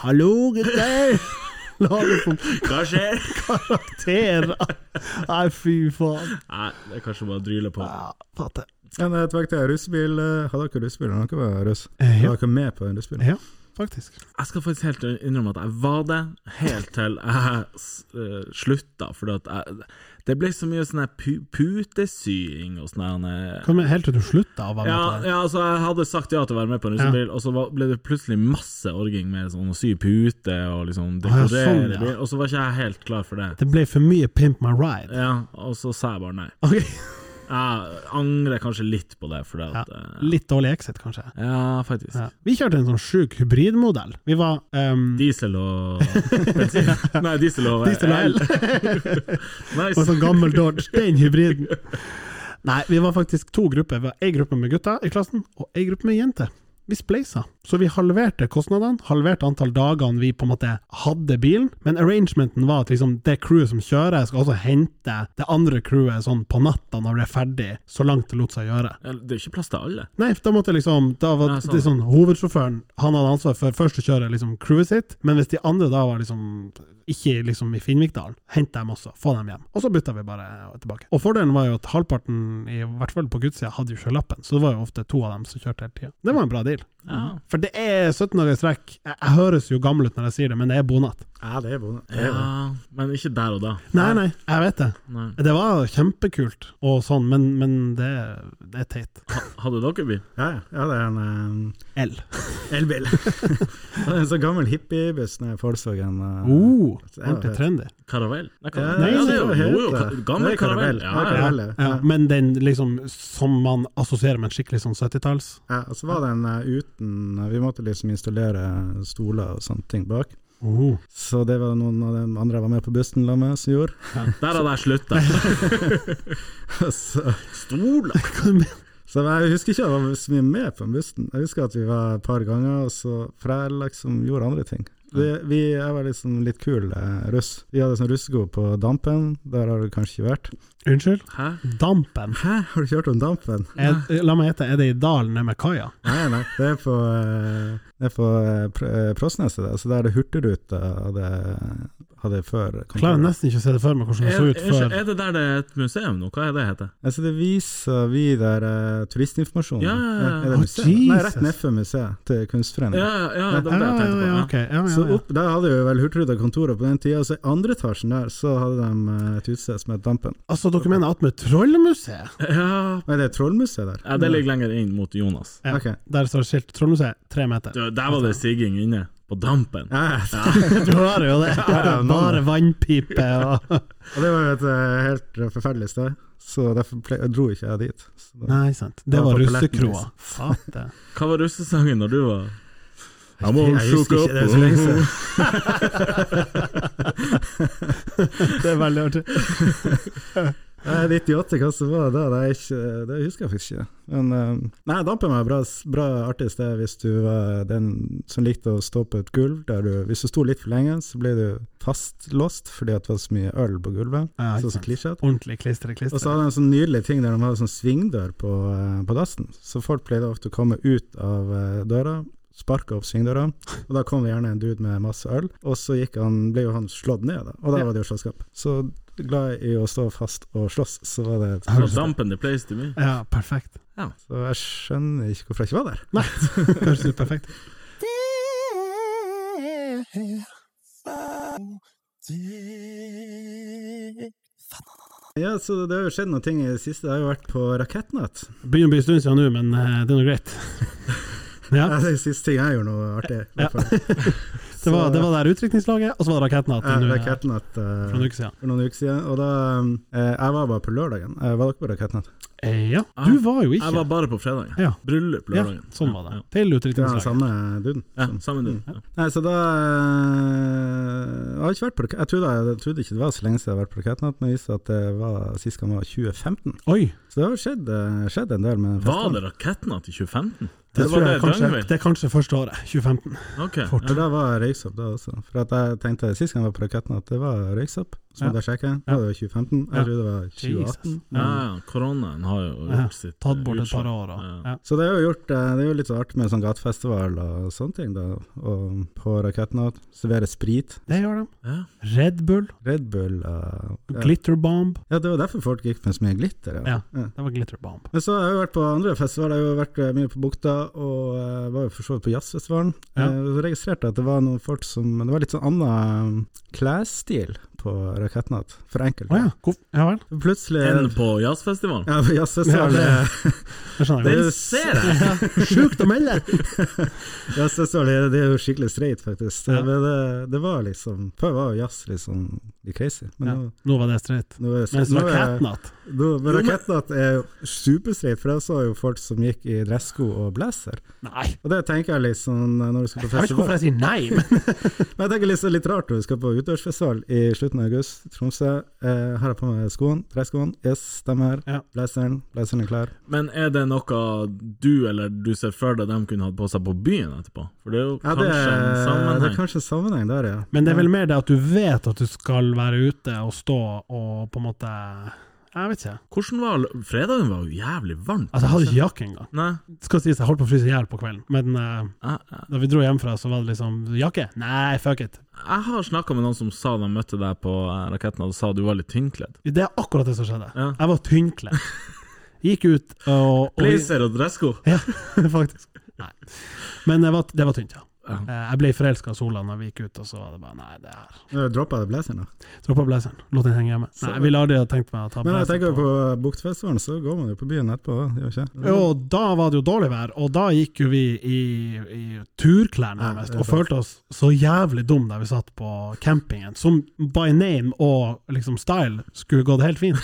C: Hallo, gutter! Lager som
D: Hva skjer?
C: karakterer. Nei, fy faen.
D: Nei, det er kanskje bare å dryle på.
C: Ja, fatter.
E: Men eh, tilbake til russebil. eh, Hadde dere russebil da dere var russ?
C: Eh, ja.
E: Var dere med på en russebil?
C: Ja, faktisk.
D: Jeg skal faktisk helt innrømme at jeg var det helt til jeg s- eh, slutta, fordi at jeg det ble så mye sånn her pu putesying og sånn her, eh,
C: Hva med helt til du slutta å være med
D: ja,
C: på det?
D: ja, altså jeg hadde sagt ja til å være med på en russebil, og så var, ble det plutselig masse orging med sånn å sy pute og liksom
C: ja,
D: dekorere
C: sånn, ja.
D: bil, og så var ikke jeg helt klar for det.
C: Det ble for mye Pimp my ride.
D: Ja, og så sa jeg bare nei.
C: Ok,
D: Jeg angrer kanskje litt på det, fordi at eh,
C: Litt dårlig exit, kanskje.
D: Ja, faktisk.
C: Ja. Vi kjørte en sånn sjuk hybridmodell. Vi var ehm,
D: Diesel og bensin. Nei, diesel og
C: Diesel og el. Og
D: Nice.
C: sånn gammel Dodge. Den hybriden. Nei, vi var faktisk to grupper. Vi var ei gruppe med gutter i klassen, og ei gruppe med jenter. Vi spleisa, så vi halverte kostnadene, halverte antall dagene vi på en måte hadde bilen, men arrangementen var at liksom det crewet som kjører, skal også hente det andre crewet sånn på natta når det er ferdig, så langt det lot seg gjøre.
D: Ja, Det er jo ikke plass til alle.
C: Nei, for da måtte liksom da var
D: Ja, sånn.
C: det sånn, Hovedsjåføren han hadde ansvar for først å kjøre liksom crewet sitt, men hvis de andre da var liksom ikke liksom i Finnvikdalen, hente dem også, få dem hjem. Og så bytta vi bare tilbake. Og fordelen var jo at halvparten, i hvert fall på gudssida, hadde jo sjølappen, så det var jo ofte to av dem som kjørte hele tida. Det var en bra deal.
D: Ja.
C: For det er 17 dager i strekk. Jeg, jeg høres jo gammel ut når jeg sier det, men det er bonat.
E: Ja, det er bonde. Det er jo
D: ja,
E: det.
D: men ikke der og da.
C: Nei, nei, jeg vet det.
D: Nei.
C: Det var kjempekult og sånn, men, men det, det er teit.
D: Hadde dere bil?
E: Ja, ja. ja, det er en eh,
C: L.
E: elbil. det er en sånn gammel hippiebuss nede i Volkswagen. eh.
C: Oh, ordentlig trendy.
D: Karavell? Nei,
E: Ja,
D: karavell. Ja, det er jo, jo, jo,
E: heter det.
D: ka- gammel
E: Det er karavell.
D: karavell. Ja, ja.
E: Ja,
C: Ja, ja. Men den liksom som man assosierer med en skikkelig sånn 70-talls.
E: Ja, og så var den eh, uten Vi måtte liksom installere stoler og sånne ting bak.
C: Oh.
E: Så det var noen av de andre jeg var med på bussen la med, som gjorde.
D: Der hadde jeg slutta.
E: så,
D: Stoler!
E: så jeg husker ikke jeg var så mye med på bussen. Jeg husker at vi var et par ganger, og så, for jeg liksom gjorde andre ting. Vi, vi, jeg var liksom litt kul eh, russ. Vi hadde sånn russegod på Dampen, der har du kanskje ikke vært.
C: Unnskyld?
D: Hæ?
C: Dampen.
E: Hæ, har du kjørt om Dampen?
C: Er, la meg gjette, er det i dalen nede med kaia?
E: Nei, nei, det er på, eh, det er på eh, Pr- eh, Prosneset, der. Så der er det Hurtigruta hadde, hadde før.
C: Klarer nesten ikke å se det for meg hvordan det
D: Er,
C: så
D: er,
C: ut før.
D: ikke- er det der det er et museum nå? Hva er det heter?
E: Altså, det viser vi der eh, turistinformasjonen.
D: Ja, ja, ja.
E: Er det
C: Å,
E: museet? Nei,
C: Jesus.
E: rett nedfor museet til
D: Ja,
E: Kunstforeningen.
D: ja, ja, det
C: Ja,
D: var det
C: ja,
D: jeg tenkte på.
C: ja,
D: Ja.
C: ok. Ja, ja,
E: Så
C: ja.
E: opp, Der hadde jo vel Hurtigruta kontoret på den tida, og så i andre etasjen der så hadde de eh, et utsted som het Dampen.
C: Altså, dere mener at med Trollmuseet?
D: Ja.
E: Men det er Trollmuseet der?
D: ja, det ligger lenger inn mot Jonas.
C: Ja,
E: Ok.
C: Der står det skilt Trollmuseet, tre meter.
D: Du, der var det sigging inne, på dampen.
E: Ja, ja.
C: Du har jo det!
E: ja, nå-
C: Bare vannpipe og
E: Og det var jo et eh, helt forferdelig sted, så derfor ple- dro ikke jeg dit. Så da-
C: Nei, sant. Det
E: Ja,
C: var
E: på paletten,
C: russekroa.
E: liksom.
C: Fatte.
D: Hva var russesangen når du var Jeg
E: Jeg husker ikke, det er så lenge siden.
C: Det er veldig artig.
E: Nei, 98, hva som var det? Det, er ikke, det husker jeg faktisk ikke. Men eh, Nei, Dampen var et bra, bra artig sted hvis du var den som likte å stå på et gulv. Der du, hvis du sto litt for lenge, så ble du fastlåst fordi at det var så mye øl på gulvet.
C: Ja,
E: så
C: ikke
E: så
C: sant.
E: klisjete.
C: Ordentlig klistre,
E: Og så
C: klistre.
E: hadde de en sånn nydelig ting der de hadde sånn svingdør på, eh, på dassen. Så folk pleide ofte å komme ut av eh, døra. Sparka opp svingdøra, og da kom det gjerne en dude med masse øl. Og så gikk han, ble jo han slått ned, da, og da
C: Ja.
E: var det jo slåsskamp. Så glad i å stå fast og slåss, så var det
D: På dampen the place to be.
C: Ja, perfekt.
E: Så jeg skjønner ikke hvorfor jeg ikke var der.
C: Nei, høres ut perfekt.
E: Ja, så Det har jo skjedd noen ting i det siste. Jeg har jo vært på Rakettnatt.
C: Begynner å bli en stund siden nå, men eh, det er nå greit. Ja,
E: Ja. Det er den siste ting jeg gjorde noe artig. i hvert fall.
C: det var, det var der utrykningslaget, og så var det
E: Så,
C: Rakettnatt
E: ja,
C: nå, eh,
E: Rakettnatt eh,
C: for noen uker siden.
E: for noen uker siden. Og da eh, Jeg var bare på lørdagen. Eh, var dere på Rakettnatt?
C: Eh, Ja, du var jo
D: Jeg
C: ikke
D: var bare på fredagen.
C: Ja.
D: Bryllup
C: Ja,
D: lørdagen.
C: sånn var det.
D: Ja,
C: Til
E: Det var den
C: utrykningslaget.
E: samme duden.
D: ja. ja sammen du. Ja.
E: Nei, så da eh, Jeg har ikke vært på Rakettnatt. Jeg trodde, jeg trodde ikke det var så lenge siden jeg har vært på Rakettnatt, men det viste seg at det var sist gang var 2015.
C: Oi,
E: Så det har jo skjedd, eh, skjedd en del med den
D: Var
E: festivalen.
D: det rakettnatt i 2015?
C: det, tror
D: var
C: jeg
D: det
C: kanskje,
D: Ragnhild.
C: det er kanskje første året, 2015.
D: Ok.
C: Fort.
E: Ja, da var Røyksopp da også. For at jeg tenkte sist gang jeg var på Raketten at det var Røyksopp. Så
C: Ja.
E: måtte jeg sjekke.
C: Ja.
E: Da var det 2015.
C: Ja.
E: Jeg trodde det var 2018.
C: Jesus.
D: Ja, ja, koronaen har jo
C: Ja,
D: gjort sitt
C: Tatt bort et par
D: utslag.
C: år. Og,
D: Ja.
C: ja.
E: Så det er jo gjort eh, Det er jo litt så artig med sånn gatefestival og sånne ting, da. Og på Raketten at servere sprit.
C: Det gjør de.
D: Ja.
C: Red Bull,
E: Red Bull og ja.
C: Glitter Bomb.
E: ja, det var derfor folk gikk med så mye glitter.
C: Ja. Det var Glitter Bomb.
E: Men så har jeg jo vært på andre festivaler, jeg har jo vært eh, mye på Bukta, og eh, var jo for så vidt på jazzfestivalen.
C: Ja.
E: Eh, Så registrerte jeg at det var noen folk som Det var litt sånn annen eh, klesstil på Rakettnatt, for enkelte.
C: Å ja. Hvorfor? Ja vel.
E: Plutselig
D: Enn på jazzfestivalen?
E: Ja, for jazzfestival
C: Ja,
E: er-
C: Det skjønner
E: Det
C: jeg godt.
E: er jo-
D: Den ser jeg!
C: Sjukt å melde!
E: jazzfestival er- det er jo skikkelig streit, faktisk.
C: Ja.
E: Men det, det var liksom Før var jo jazz liksom litt crazy, men
C: Ja.
E: nå,
C: Nå var det streit.
E: nå er det
C: Mens
E: nå er-
C: Rakettnatt
E: nå- Men Rakettnatt er jo superstreit, for jeg så jo folk som gikk i dressko og blazer.
C: Nei.
E: Og det tenker jeg liksom når du skal på
C: Jeg vet ikke
E: festival.
C: hvorfor jeg sier nei, men
E: Men jeg tenker liksom litt rart når du skal på utendørsfestival i slutten av august, Tromsø. Eh, her har jeg på meg skoen, dresskoen. Yes, stemmer.
C: Ja.
E: Blazeren. Blazeren er klar.
D: Men er det noe du eller du ser for deg de kunne hatt på seg på byen etterpå? For det er jo
E: Ja, det,
D: kanskje en
E: er, det er
D: sammenheng.
E: kanskje en sammenheng der, ja.
C: Men det er vel mer det at du vet at du skal være ute og stå og på en måte Jeg vet ikke.
D: Hvordan var l- Fredagen var jo jævlig varm.
C: Altså, jeg hadde ikke jakke engang.
D: Nei,
C: Skal sies jeg holdt på å fryse i hjel på kvelden, men eh,
D: jeg, jeg-
C: da vi dro hjemmefra, så var det liksom Jakke? Nei, fuck it.
D: jeg har snakka med noen som sa de møtte deg på eh, raketten og sa du var litt tynnkledd.
C: Det er akkurat det som skjedde.
D: Ja.
C: Jeg var tynnkledd. Gikk ut og, og
D: Blazer og dressko.
C: Ja, faktisk. Men det var, det var tynt, ja.
D: Ja.
C: Eh, Jeg ble forelska av sola når vi gikk ut, og så var det bare Nei, det her
E: Droppa det blazeren, da?
C: Droppa blazeren. Lot den henge hjemme. Nei, jeg ville aldri ha tenkt meg å ta
E: Men jeg tenker
C: blazer
E: jo på Buktfestivalen, så går man jo på byen etterpå. da, Gjør ikke?
D: Mhm.
E: det?
C: Jo, da var det jo dårlig vær, og da gikk jo vi i, i turklær nærmest,
E: Ja, det er
C: og følte oss så jævlig dum der vi satt på campingen, som by name og liksom style skulle gått helt fint,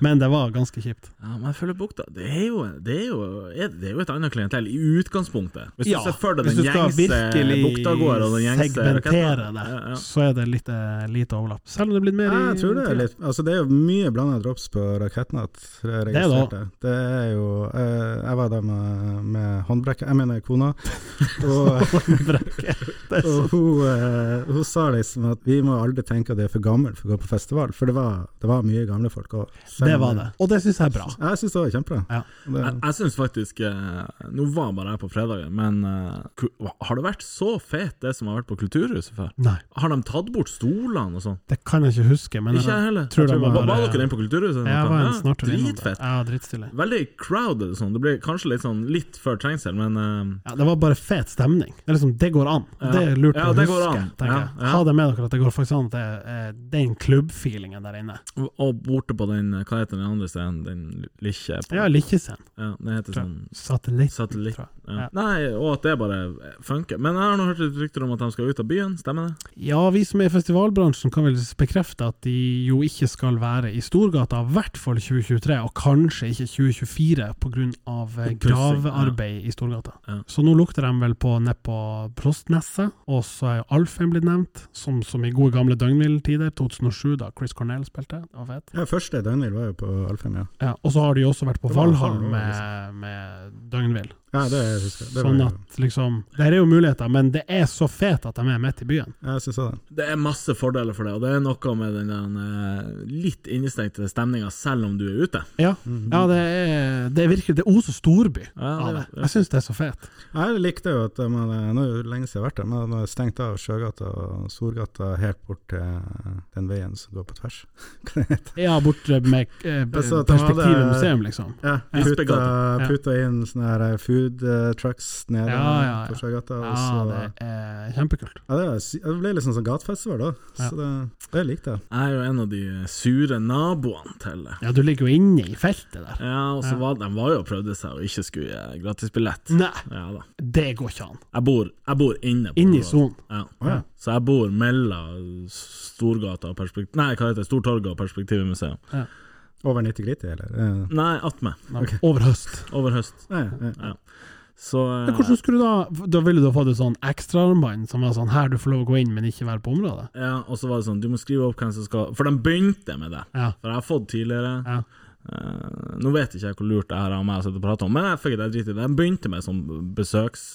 C: men det var ganske kjipt.
D: Ja, men jeg føler bukta det er, jo, det, er jo, er- det er jo et annet klientell i utgangspunktet. Hvis
C: Ja,
D: du ser for deg
C: hvis
D: den
C: du skal
D: gjengse
C: virkelig
D: buktagård og den gjengse
C: segmentere
D: raketten.
C: det,
D: Ja, ja.
C: så er det lite, lite overlapp. Selv om det er blitt mer i
E: Jeg tror det er
C: tida.
E: litt Altså, det er jo mye blanda drops på Rakettnatt. jeg
C: Det er
E: registrerte. Det er jo eh, Jeg var der med, med håndbrekket Jeg mener kona. Og, og hun, eh, hun sa liksom at vi må aldri tenke at det er for gammel for å gå på festival, for det var, det var mye gamle folk òg.
C: Det var det, og det syns jeg er bra.
E: Jeg syns det var kjempebra.
C: Ja.
E: Det,
D: Jeg, jeg syns faktisk eh, Nå var bare jeg på fredagen, men eh, ku- har det vært så fet, det som har vært på Kulturhuset før?
C: Nei,
D: Har de tatt bort stolene og sånn?
C: det kan jeg ikke huske, men
D: Ikke jeg heller.
C: tror
D: Jeg
C: det
D: tror-
C: var-
D: var, var dere inne på Kulturhuset? eller
C: jeg
D: noe?
C: var en
D: Ja,
C: snartur innom det.
D: Dritfett.
C: Ja, drittstille.
D: Veldig crowded og sånn. Det blir kanskje litt sånn litt før trengsel, men eh,
C: Ja, det var bare fet stemning. Det, er liksom, det går an.
D: Ja.
C: Det er lurt
D: Ja,
C: å
D: det
C: huske.
D: går an.
C: tenker
D: Ja,
C: jeg.
D: ja.
C: Ha det med dere at det går faktisk an at det er den klubbfeelingen der inne.
D: og- Og borte på den Hva heter den andre scenen? Den Likkje? på-
C: Ja, Likkjescenen.
D: ja, den heter sånn
C: Satellitt.
D: Satellitt.
C: tror jeg.
D: Ja.
C: Ja.
D: Nei, og at det bare funker. Men jeg har nå hørt litt rykter om at de skal ut av byen, stemmer det?
C: Ja, vi som er i festivalbransjen kan vel bekrefte at de jo ikke skal være i Storgata, i hvert fall 2023, og kanskje ikke 2024 pga.
D: Oppussing,
C: eh, gravearbeid i Storgata.
D: Ja.
C: Så nå lukter de vel på ned på Prostneset, og så er jo Alfheim blitt nevnt, som, som i gode gamle døgnhviletider, 2007, da Chris Cornell spilte. Det var fett.
E: ja, første døgnhvil var jo på Alfheim, ja.
C: Ja, og så har de jo også vært på
E: Det var
C: Valhall
E: Valhall, liksom.
C: med, med døgnhvil.
E: ja det husker jeg. Det var
C: Sånn
E: jo-
C: at liksom Der er jo muligheter, men det er så fet at de er midt i byen.
E: Ja, jeg syns det.
D: Det er masse fordeler for det, og det er noe med den der, eh, litt innestengte stemninga selv om du er ute.
C: Ja,
E: Mm.
C: ja det er det er virkelig Det oser storby
D: Ja,
C: av det.
D: det- ja.
C: Jeg syns det er så fet.
E: Jeg likte jo at man, nå er det jo lenge siden jeg har vært der, men man har stengt av Sjøgata og Sorgata helt bort til eh, den veien som går på tvers. Hva det heter
C: Ja, borte med eh,
E: Altså, at de
C: Perspektivet
E: hadde-
C: museum, liksom.
E: ja, puta,
D: Espegata.
C: Ja.
E: puta inn sånne her food eh, trucks nede
C: Ja, ja, ja.
E: på Sjøgata. Og
C: Ja,
E: så, ja,
C: det er kjempekult.
E: det, var sy- det ble liksom sånn gatefestival da,
C: Ja.
E: så det, det likte jeg.
D: Jeg er jo en av de eh, sure naboene til det.
C: Ja, du ligger jo inne i feltet der.
D: Ja, og så
C: Ja.
D: var de var jo og prøvde seg og ikke skulle gi gratisbillett.
C: Nei,
D: Ja da.
C: det går ikke an.
D: Jeg bor, jeg bor inne på
C: Inne i sonen.
D: Ja.
E: ja.
D: Så jeg bor mellom Storgata og Perspektiv... Nei, hva heter det? Stortorget og Perspektivet museum.
E: Over 90 glitter, eller? Eh,
D: Nei, attmed.
C: Over høst.
D: Over høst.
E: Nei, nei.
D: Så eh,
C: Men hvordan skulle du da Da ville du ha fått et sånn ekstraarmbånd som var sånn her, du får lov å gå inn, men ikke være på området?
D: Ja, og så var det sånn, du må skrive opp hvem som skal For de begynte med det.
C: Ja.
D: For jeg har fått tidligere.
C: Ja.
D: Eh, nå vet ikke jeg hvor lurt det her er av meg å sitte og prate om, men jeg fikk det dritt i det. De begynte med sånn besøks...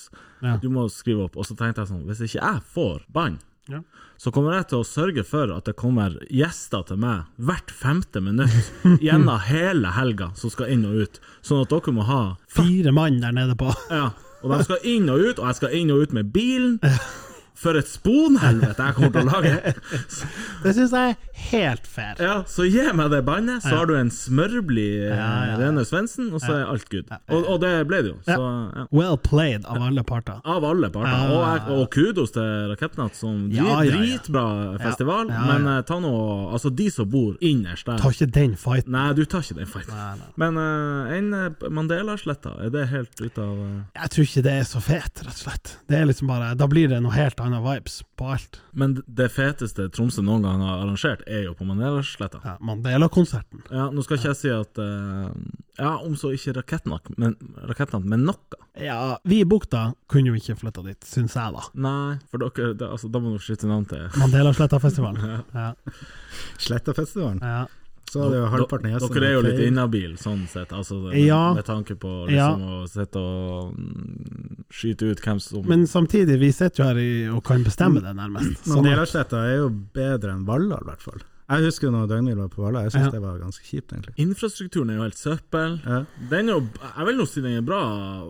C: Ja.
D: Du må skrive opp. Og så tenkte jeg sånn, hvis ikke jeg får bann,
C: Ja.
D: så kommer jeg til å sørge for at det kommer gjester til meg hvert femte minutt gjennom hele helga som skal inn og ut. Sånn at dere må ha
C: Fire mann der nede på
D: Ja, og de skal inn og ut, og jeg skal inn og ut med bilen. For et sponhelvete jeg kommer til å lage!
C: Det syns jeg er helt fair.
D: Ja, Så gi meg det bandet, så har du en smørblid ja,
C: ja, ja.
D: Rene Svendsen, og så er alt good. Og, og det ble det jo. Så, ja.
C: Well played av alle parter.
D: Av alle parter.
C: Ja,
D: Og,
C: ja,
D: jeg, og kudos til Rakettnatt, som dri,
C: Ja, ja, ja.
D: dritbra festival.
C: Ja, ja, ja.
D: Men eh, ta nå Altså, de som bor innerst der
C: Ta ikke den fighten.
D: Nei, du tar ikke den fighten. Men eh, en eh, Mandela-sletta, er det helt ut av eh,
C: Jeg tror ikke det er så fet, rett og slett. Det er liksom bare, Da blir det noe helt annet vibes på alt.
D: Men det feteste Tromsø noen gang har arrangert, er jo på Mandela-sletta.
C: Ja, Mandela-konserten.
D: Ja, nå skal ikke jeg si at eh, Ja, om så ikke Rakettnatt, men, rakettnatt, men noe.
C: Ja, vi i bukta kunne jo ikke flytta dit, syns jeg, da.
D: Nei, for dere det, altså, Da må dere skifte navn til
C: Mandela-Slettafestivalen. Ja,
E: Slettafestivalen.
C: ja.
E: Så hadde jo halvparten av gjestene
D: Dere er jo litt
E: feil.
D: inhabil sånn sett, altså, med,
C: Ja.
D: med tanke på
C: Ja.
D: liksom, å sitte og mm, skyte ut hvem som
C: Men samtidig, vi sitter jo her i, og kan bestemme det, nærmest. Sånn
E: Men
C: at-
E: Delarsletta er jo bedre enn Valhall, i hvert fall. Jeg husker når døgnhvil var på Valhall, jeg syns
C: Ja.
E: det var ganske kjipt, egentlig.
D: Infrastrukturen er jo helt søppel.
E: Ja.
D: Den er jo, jeg vil nå si den er bra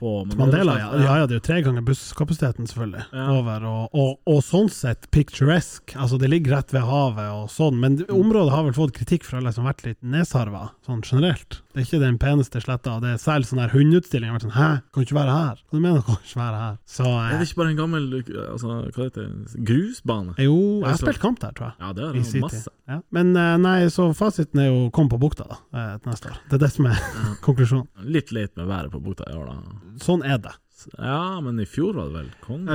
D: på men
C: Mandela, ja.
D: det er-
C: ja. Ja, det er jo tre ganger busskapasiteten, selvfølgelig.
D: Ja.
C: Over, og, og, og sånn sett picturesque. Altså, det ligger rett ved havet og sånn, men
D: Mm.
C: det- området har vel fått kritikk fra alle som har liksom, vært litt nedsarva, sånn generelt. Det er ikke den peneste sletta, og det er særlig sånn her hundeutstilling. Jeg har vært sånn Hæ, kan ikke være her? Hva du mener du kan ikke være her? Så
D: Er
C: eh,
D: det ikke bare en gammel altså, hva heter det, grusbane?
C: jo, jeg har
D: så-
C: spilt kamp der, tror jeg.
D: Ja, det er
C: I sin
D: det
C: tid.
D: masse.
C: Ja. Men eh, nei, så fasiten er jo 'kom på bukta', da, eh, til neste år. Det er det som er konklusjonen.
D: Litt leit med været på bukta i år, da.
C: Sånn er det.
D: Ja, men i fjor var det vel
E: Ja,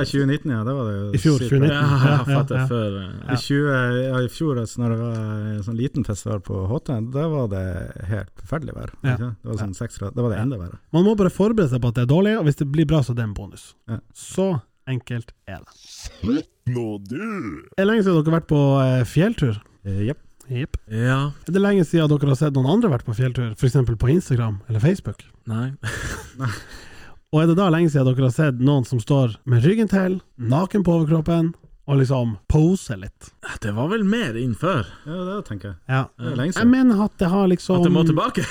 D: konge?
E: 2019, ja. Det var det jo.
C: I fjor,
E: sykt.
C: 2019.
D: Ja, jeg fatter før
E: I, 20, ja, I fjor, altså, når det var en sånn liten festival på HT, da var det helt forferdelig vær.
C: Ja.
E: Ikke? Det var sånn seks grader. Da var det enda verre.
C: Man må bare forberede seg på at det er dårlig, og hvis det blir bra, så er det en bonus.
E: Ja.
C: Så enkelt er det.
B: Nå du!
C: Er det lenge siden dere har vært på eh, fjelltur?
E: Eh, Jepp.
C: Jepp.
D: Ja,
C: Er det lenge siden dere har sett noen andre vært på fjelltur, f.eks. på Instagram eller Facebook?
D: nei
C: Og er det da lenge siden dere har sett noen som står med ryggen til, naken på overkroppen, og liksom poser litt?
D: Det var vel mer inn før?
E: Ja, det tenker jeg.
C: Ja.
E: Det er
C: Jeg
E: lenge siden.
C: mener at det har liksom
D: At det må tilbake?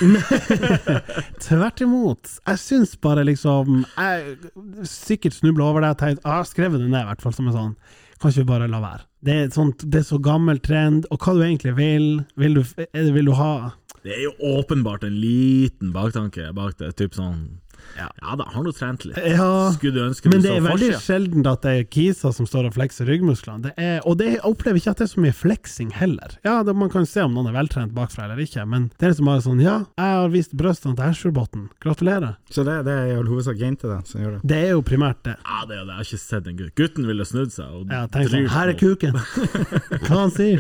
C: Tvert imot. Jeg syns bare liksom Jeg sikkert snubla over det og tenkte Jeg har skrevet det ned, i hvert fall, som en sånn Kan ikke vi bare la være? Det er, et sånt, det er så gammel trend, og hva du egentlig vil Vil du, er det- vil du ha
D: Det er jo åpenbart en liten baktanke bak det. Typ sånn
C: Ja.
D: Ja, da har du trent litt.
C: Ja,
D: Skulle du ønske du
C: men det
D: så
C: er veldig
D: forsida?
C: sjelden at det er kiser som står og flekser ryggmusklene. Det er, og det jeg opplever ikke at det er så mye fleksing heller. Ja, det, Man kan se om noen er veltrent bakfra eller ikke, men det er liksom bare sånn Ja, jeg har vist brystene til Hesjebotn. Gratulerer.
E: Så det, det er i all hovedsak jenter da, som gjør det.
C: Det er jo primært det.
D: Ja, det er jo det. Jeg har ikke sett en gutt. Gutten ville snudd seg og
C: Ja, tenk sånn,
D: dryrt
C: her er
D: på.
C: kuken! Hva han sier?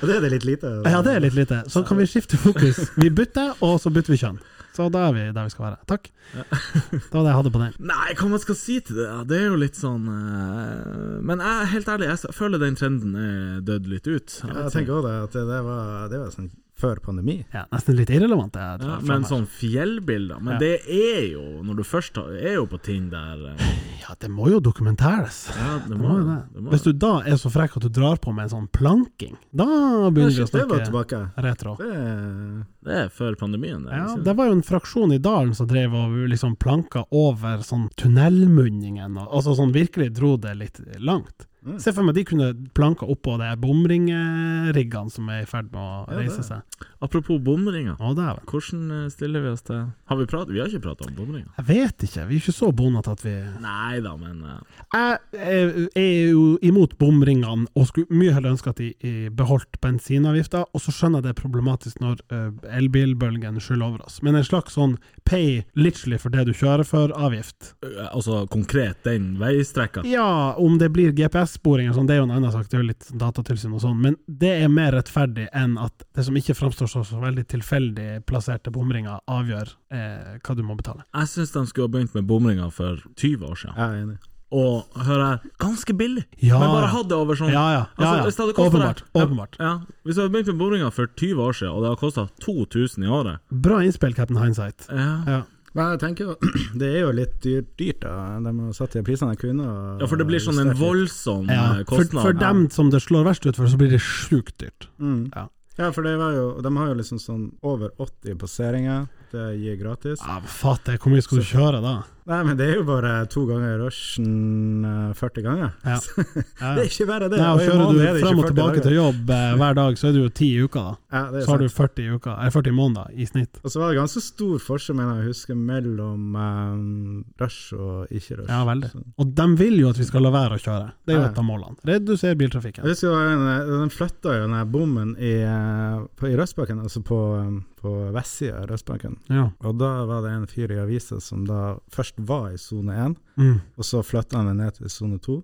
E: Og det er det litt lite.
C: Ja, det er litt lite. Så kan vi skifte fokus. Vi bytter, og så bytter vi kjønn. Så da er vi der vi skal være. Takk. Det var det jeg hadde på den.
D: Nei, hva man skal si til det? da? Det er jo litt sånn eh, Men jeg, helt ærlig, jeg s- føler den trenden er dødd litt ut. sånn, Jeg
E: Ja,
D: vet
E: jeg
D: ikke.
E: tenker også det, at det, det var, det var sånn før pandemi.
C: Ja, nesten litt irrelevant. det Jeg
D: Ja,
C: drar
D: men
C: fram her.
D: sånn fjellbilder Men
C: Ja.
D: det er jo, når du først har, er jo på Tinder eh,
C: ja, det må jo dokumenteres.
D: Ja, det
C: Det
D: må
C: må jo
D: det.
C: det.
D: må
C: Hvis
D: det.
C: du da er så frekk at du drar på med en sånn planking, da begynner vi å
E: det var
C: snakke
E: tilbake.
C: retro.
E: Det er
D: Det er før pandemien. Det, er
C: Ja,
D: liksom-
C: det var jo en fraksjon i dalen som drev og liksom planka over sånn tunnelmunningen, og, altså sånn virkelig dro det litt langt.
E: Mm.
C: Se for meg at de kunne planka oppå de bomringriggene som er i ferd med å
E: Ja, det-
C: reise seg.
D: Apropos bomringer.
C: Å, dæven.
D: Hvordan eh, stiller vi oss til Har vi prat? Vi har ikke prata om bomringer.
C: Jeg vet ikke, vi er ikke så bondet at vi
D: Nei da, men eh,
C: Jeg eh, er jo imot bomringene, og skulle mye heller ønske at de eh, beholdt bensinavgifta, og så skjønner jeg det er problematisk når eh, elbilbølgen skyller over oss, men en slags sånn pay literally for det du kjører for-avgift.
D: eh, altså konkret den veistrekka.
C: Ja, om det blir GPS-sporing eller sånn, det er jo en annen sak, det er jo litt datatilsyn og sånn, men det er mer rettferdig enn at det som ikke framstår som så veldig tilfeldig plasserte bomringer, avgjør eh, hva du må betale.
D: Jeg syns de skulle ha begynt med bomringer for 20 år siden.
E: Jeg er enig.
D: Og hør her, ganske billig!
C: Ja,
D: men bare
C: ja.
D: ha det over sånn.
C: Ja, ja. ja,
D: Altså,
C: ja.
D: hvis det hadde kostet
C: Åpenbart.
D: deg-
C: åpenbart.
D: Ja, hvis du hadde begynt med bomringer for 20 år siden, og det hadde kosta 2000 i året
C: Bra innspill, Captain Hindsight.
D: ja.
C: Ja.
E: Men jeg tenker jo Det er jo litt dyrt, dyrt da. De har satt de prisene de kunne. og-
D: ja, for det blir sånn en
E: justert litt.
D: voldsom
C: Ja.
D: eh,
C: For,
D: kostnad.
C: for dem som det slår verst ut for, så blir det sjukt dyrt.
E: Mm.
C: Ja.
E: Ja. for det var jo De har jo liksom sånn over 80 passeringer. Det gir gratis.
C: Ja, Fatter, hvor mye skal du kjøre da?
E: Nei, men det er jo bare to ganger rushen eh, 40 ganger.
C: Ja. Ja.
E: Det er ikke bare det.
C: Nei, og
E: i
C: Kjører
E: måneden er
C: du
E: det ikke
C: frem og
E: 40
C: tilbake til
E: dager.
C: jobb eh, hver dag, så er det jo ti i uka, da.
E: Ja, det er
C: Så har
E: sant.
C: du 40 i uka, eller 40 måneder i snitt.
E: Og så var det ganske stor forskjell, mener jeg å huske, mellom um, rush og ikke rush.
C: Ja, veldig. Og de vil jo at vi skal la være å kjøre. Det er jo
E: Ja.
C: et av målene. Reduser
E: Jeg
C: biltrafikken.
E: husker det var en, eh, Den flytta jo den her bommen i, eh, på, i Røstbakken, altså på, um, på vestsida av Røstbakken.
C: Ja.
E: Og da var det en fyr i avisa som da først var i sone 1,
C: Mm.
E: og så flytta han det ned til sone 2.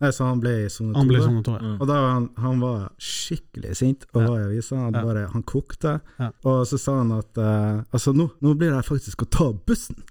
E: Nei, så han ble i sone 2.
C: Han blir
E: da.
C: sånn og to. ja.
D: Mm.
E: Og da var han, han var skikkelig sint og
C: Ja.
E: var i avisa. Han,
C: Ja.
E: bare, han kokte.
C: Ja.
E: Og så sa han at eh, altså, nå, nå blir det faktisk å ta bussen!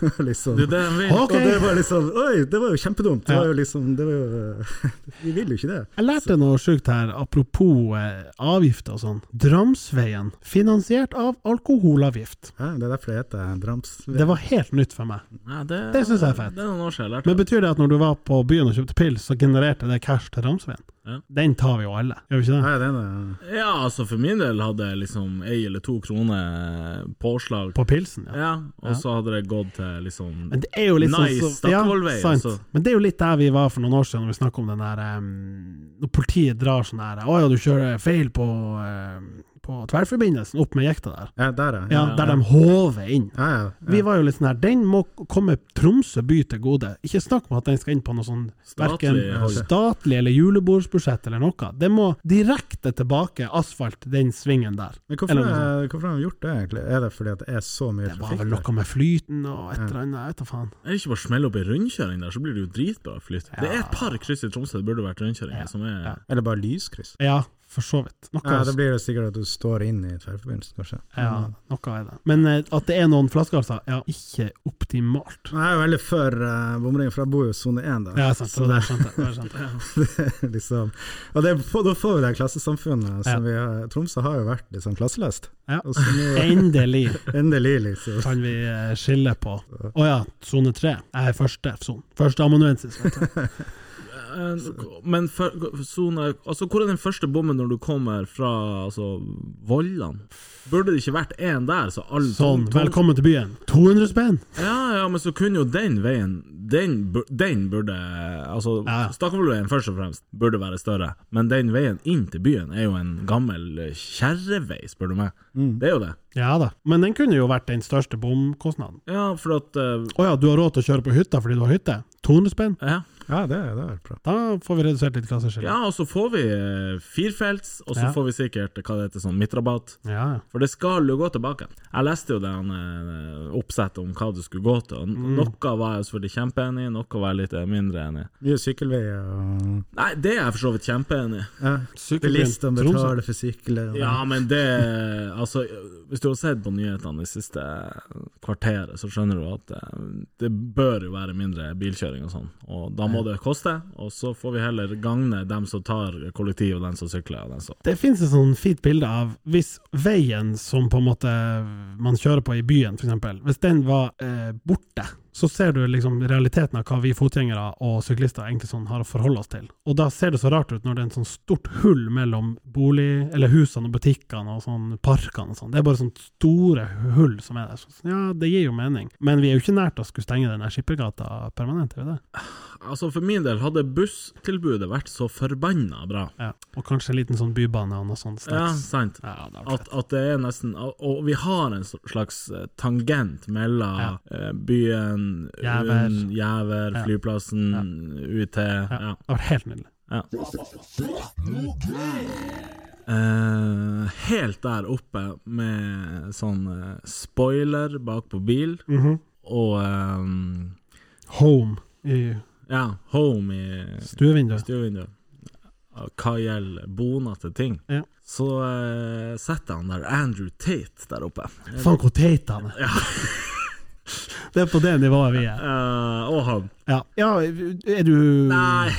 E: liksom.
D: Det er det de vil.
C: Ok.
E: Og det var liksom Oi, det var jo kjempedumt! Det
C: Ja.
E: var jo liksom det var jo, Vi vil jo ikke det.
C: Jeg lærte noe sjukt her, apropos eh, avgifter og sånn. Dramsveien, finansiert av alkoholavgift.
E: Ja, det er derfor det heter Drams.
C: Det var helt nytt for meg.
D: Nei, Nei, det,
C: Det synes jeg er fett.
D: Det er noen år siden jeg lærte
C: Men betyr det at når du var på byen og kjøpte pils, så genererte det cash til Ramsveen?
D: Ja.
C: Den tar vi jo alle, gjør vi ikke det?
E: Nei, den er
D: det. Ja, altså for min del hadde jeg liksom ei eller to kroner påslag.
C: På pilsen, ja.
D: Ja, og så hadde det gått til liksom
C: Men det er jo litt
D: Nice,
C: sånn så,
D: Stakkevollveien,
C: sant.
D: så-
C: Men det er jo litt der vi var for noen år siden, når vi snakket om den der em, Når politiet drar sånn her Å ja, du kjører feil på, em, på tverrforbindelsen opp med jekta der.
E: ja, Der, ja.
C: Ja, Der de håver inn.
E: Ja, ja. ja.
C: Vi var jo litt sånn her Den må komme Tromsø by til gode. Ikke snakk om at den skal inn på noe sånn verken
D: Statlig hold.
C: statlig eller julebordsbudsjett eller noe. Det må direkte tilbake asfalt, den svingen der.
E: Men hvorfor,
C: Eller noe
E: er, hvorfor har de gjort det, egentlig? Er det fordi at det er så mye
C: Det var
E: trafikk?
C: vel
E: der?
C: noe med flyten og et eller annet, jeg vet da faen.
D: Er det ikke bare å smelle opp ei rundkjøring der, så blir det jo dritbra flyt? Det er et par kryss i Tromsø det burde vært rundkjøringer, som er
C: Ja.
E: Eller bare lyskryss?
C: Ja, for så vidt. Noe,
E: Ja, det blir det sikkert at du står inn i tverrforbindelsen, kanskje.
C: ja, noe er det. Men eh, at det er noen flaskehalser, ja, ikke optimalt.
E: Jeg er jo veldig for eh, bomringen, for jeg bor jo i sone 1, da.
C: Ja, sant, så der skjønte jeg. Der skjønte jeg.
E: liksom. Og det, får- da får vi det klassesamfunnet
C: Ja.
E: som vi har Tromsø har jo vært liksom klasseløst.
C: Ja.
E: Og så nå,
C: Endelig
E: endelig, liksom.
C: kan vi eh, skille på Å ja, sone tre. Jeg er første sone. Førsteamanuensis.
E: Sånn.
C: vet du.
D: Eh, Men for, sone, altså, hvor er den første bommen når du kommer fra altså, Vollan? Burde det ikke vært én der? Så alle
C: Sånn,
D: to- to-
C: velkommen til byen. 200 spenn!
D: Ja, ja, men så kunne jo den veien Den, bu- den burde Altså,
C: Ja.
D: Stakkevollveien først og fremst burde være større, men den veien inn til byen er jo en gammel eh, kjerrevei, spør du meg.
C: Mm.
D: Det er jo det.
C: Ja da, men den kunne jo vært den største bomkostnaden.
D: Ja, for at eh,
C: Å ja, du har råd til å kjøre på hytta fordi du har hytte? 200 spenn?
D: ja.
E: Ja, det, det er bra.
C: Da får vi redusert litt klasseskille.
D: ja, og så får vi eh, firefelts, og
C: Ja.
D: så får vi sikkert hva det heter, sånn midtrabatt.
C: ja, ja.
D: For det skal jo gå tilbake. Jeg leste jo det han, eh, oppsettet om hva du skulle gå til. og Noe var jeg selvfølgelig kjempeenig i, noe var jeg litt eh, mindre enig i.
E: Mye sykkelveier og
D: Nei, det er jeg for så vidt kjempeenig i.
E: ja. Bilistene betaler for sykler. og-
D: Ja, men det Altså, hvis du har sett på nyhetene det siste kvarteret, så skjønner du at eh, det bør jo være mindre bilkjøring og sånn. Og da må det koste, og så får vi heller gagne dem som tar kollektiv, og dem som sykler, og dem som
C: Det finnes et sånn fint bilde av hvis veien som på en måte man kjører på i byen, f.eks., hvis den var eh, borte, så ser du liksom realiteten av hva vi fotgjengere og syklister egentlig sånn har å forholde oss til. Og da ser det så rart ut når det er en sånn stort hull mellom bolig, eller husene og butikkene og sånn parkene og sånn. Det er bare sånn store hull som er der. Så, ja, det gir jo mening, men vi er jo ikke nært å skulle stenge den her skippergata permanent, er vi det?
D: Altså, for min del, hadde busstilbudet vært så forbanna bra
C: Ja. Og kanskje en liten sånn bybane og noe sånt.
D: Ja,
C: slags-
D: sant.
C: ja det hadde vært
D: At, at det er nesten Og vi har en slags eh, tangent mellom
C: Ja.
D: eh, byen,
C: Jæver.
D: UNN, Jæver,
C: Ja.
D: flyplassen, UiT
C: Ja.
D: ja.
C: Det hadde vært helt nydelig.
D: Eh, helt der oppe med sånn eh, spoiler bak på bil,
C: Mhm.
D: og eh,
C: Home i
D: ja, home i
C: stuevinduet.
D: stuevinduet. Hva gjelder bonete ting,
C: Ja.
D: så eh, setter han der Andrew Tate der oppe.
C: Faen, hvor teit han er! det er på det nivået vi er.
D: Eh, og han.
C: Ja, ja er du
D: Nei,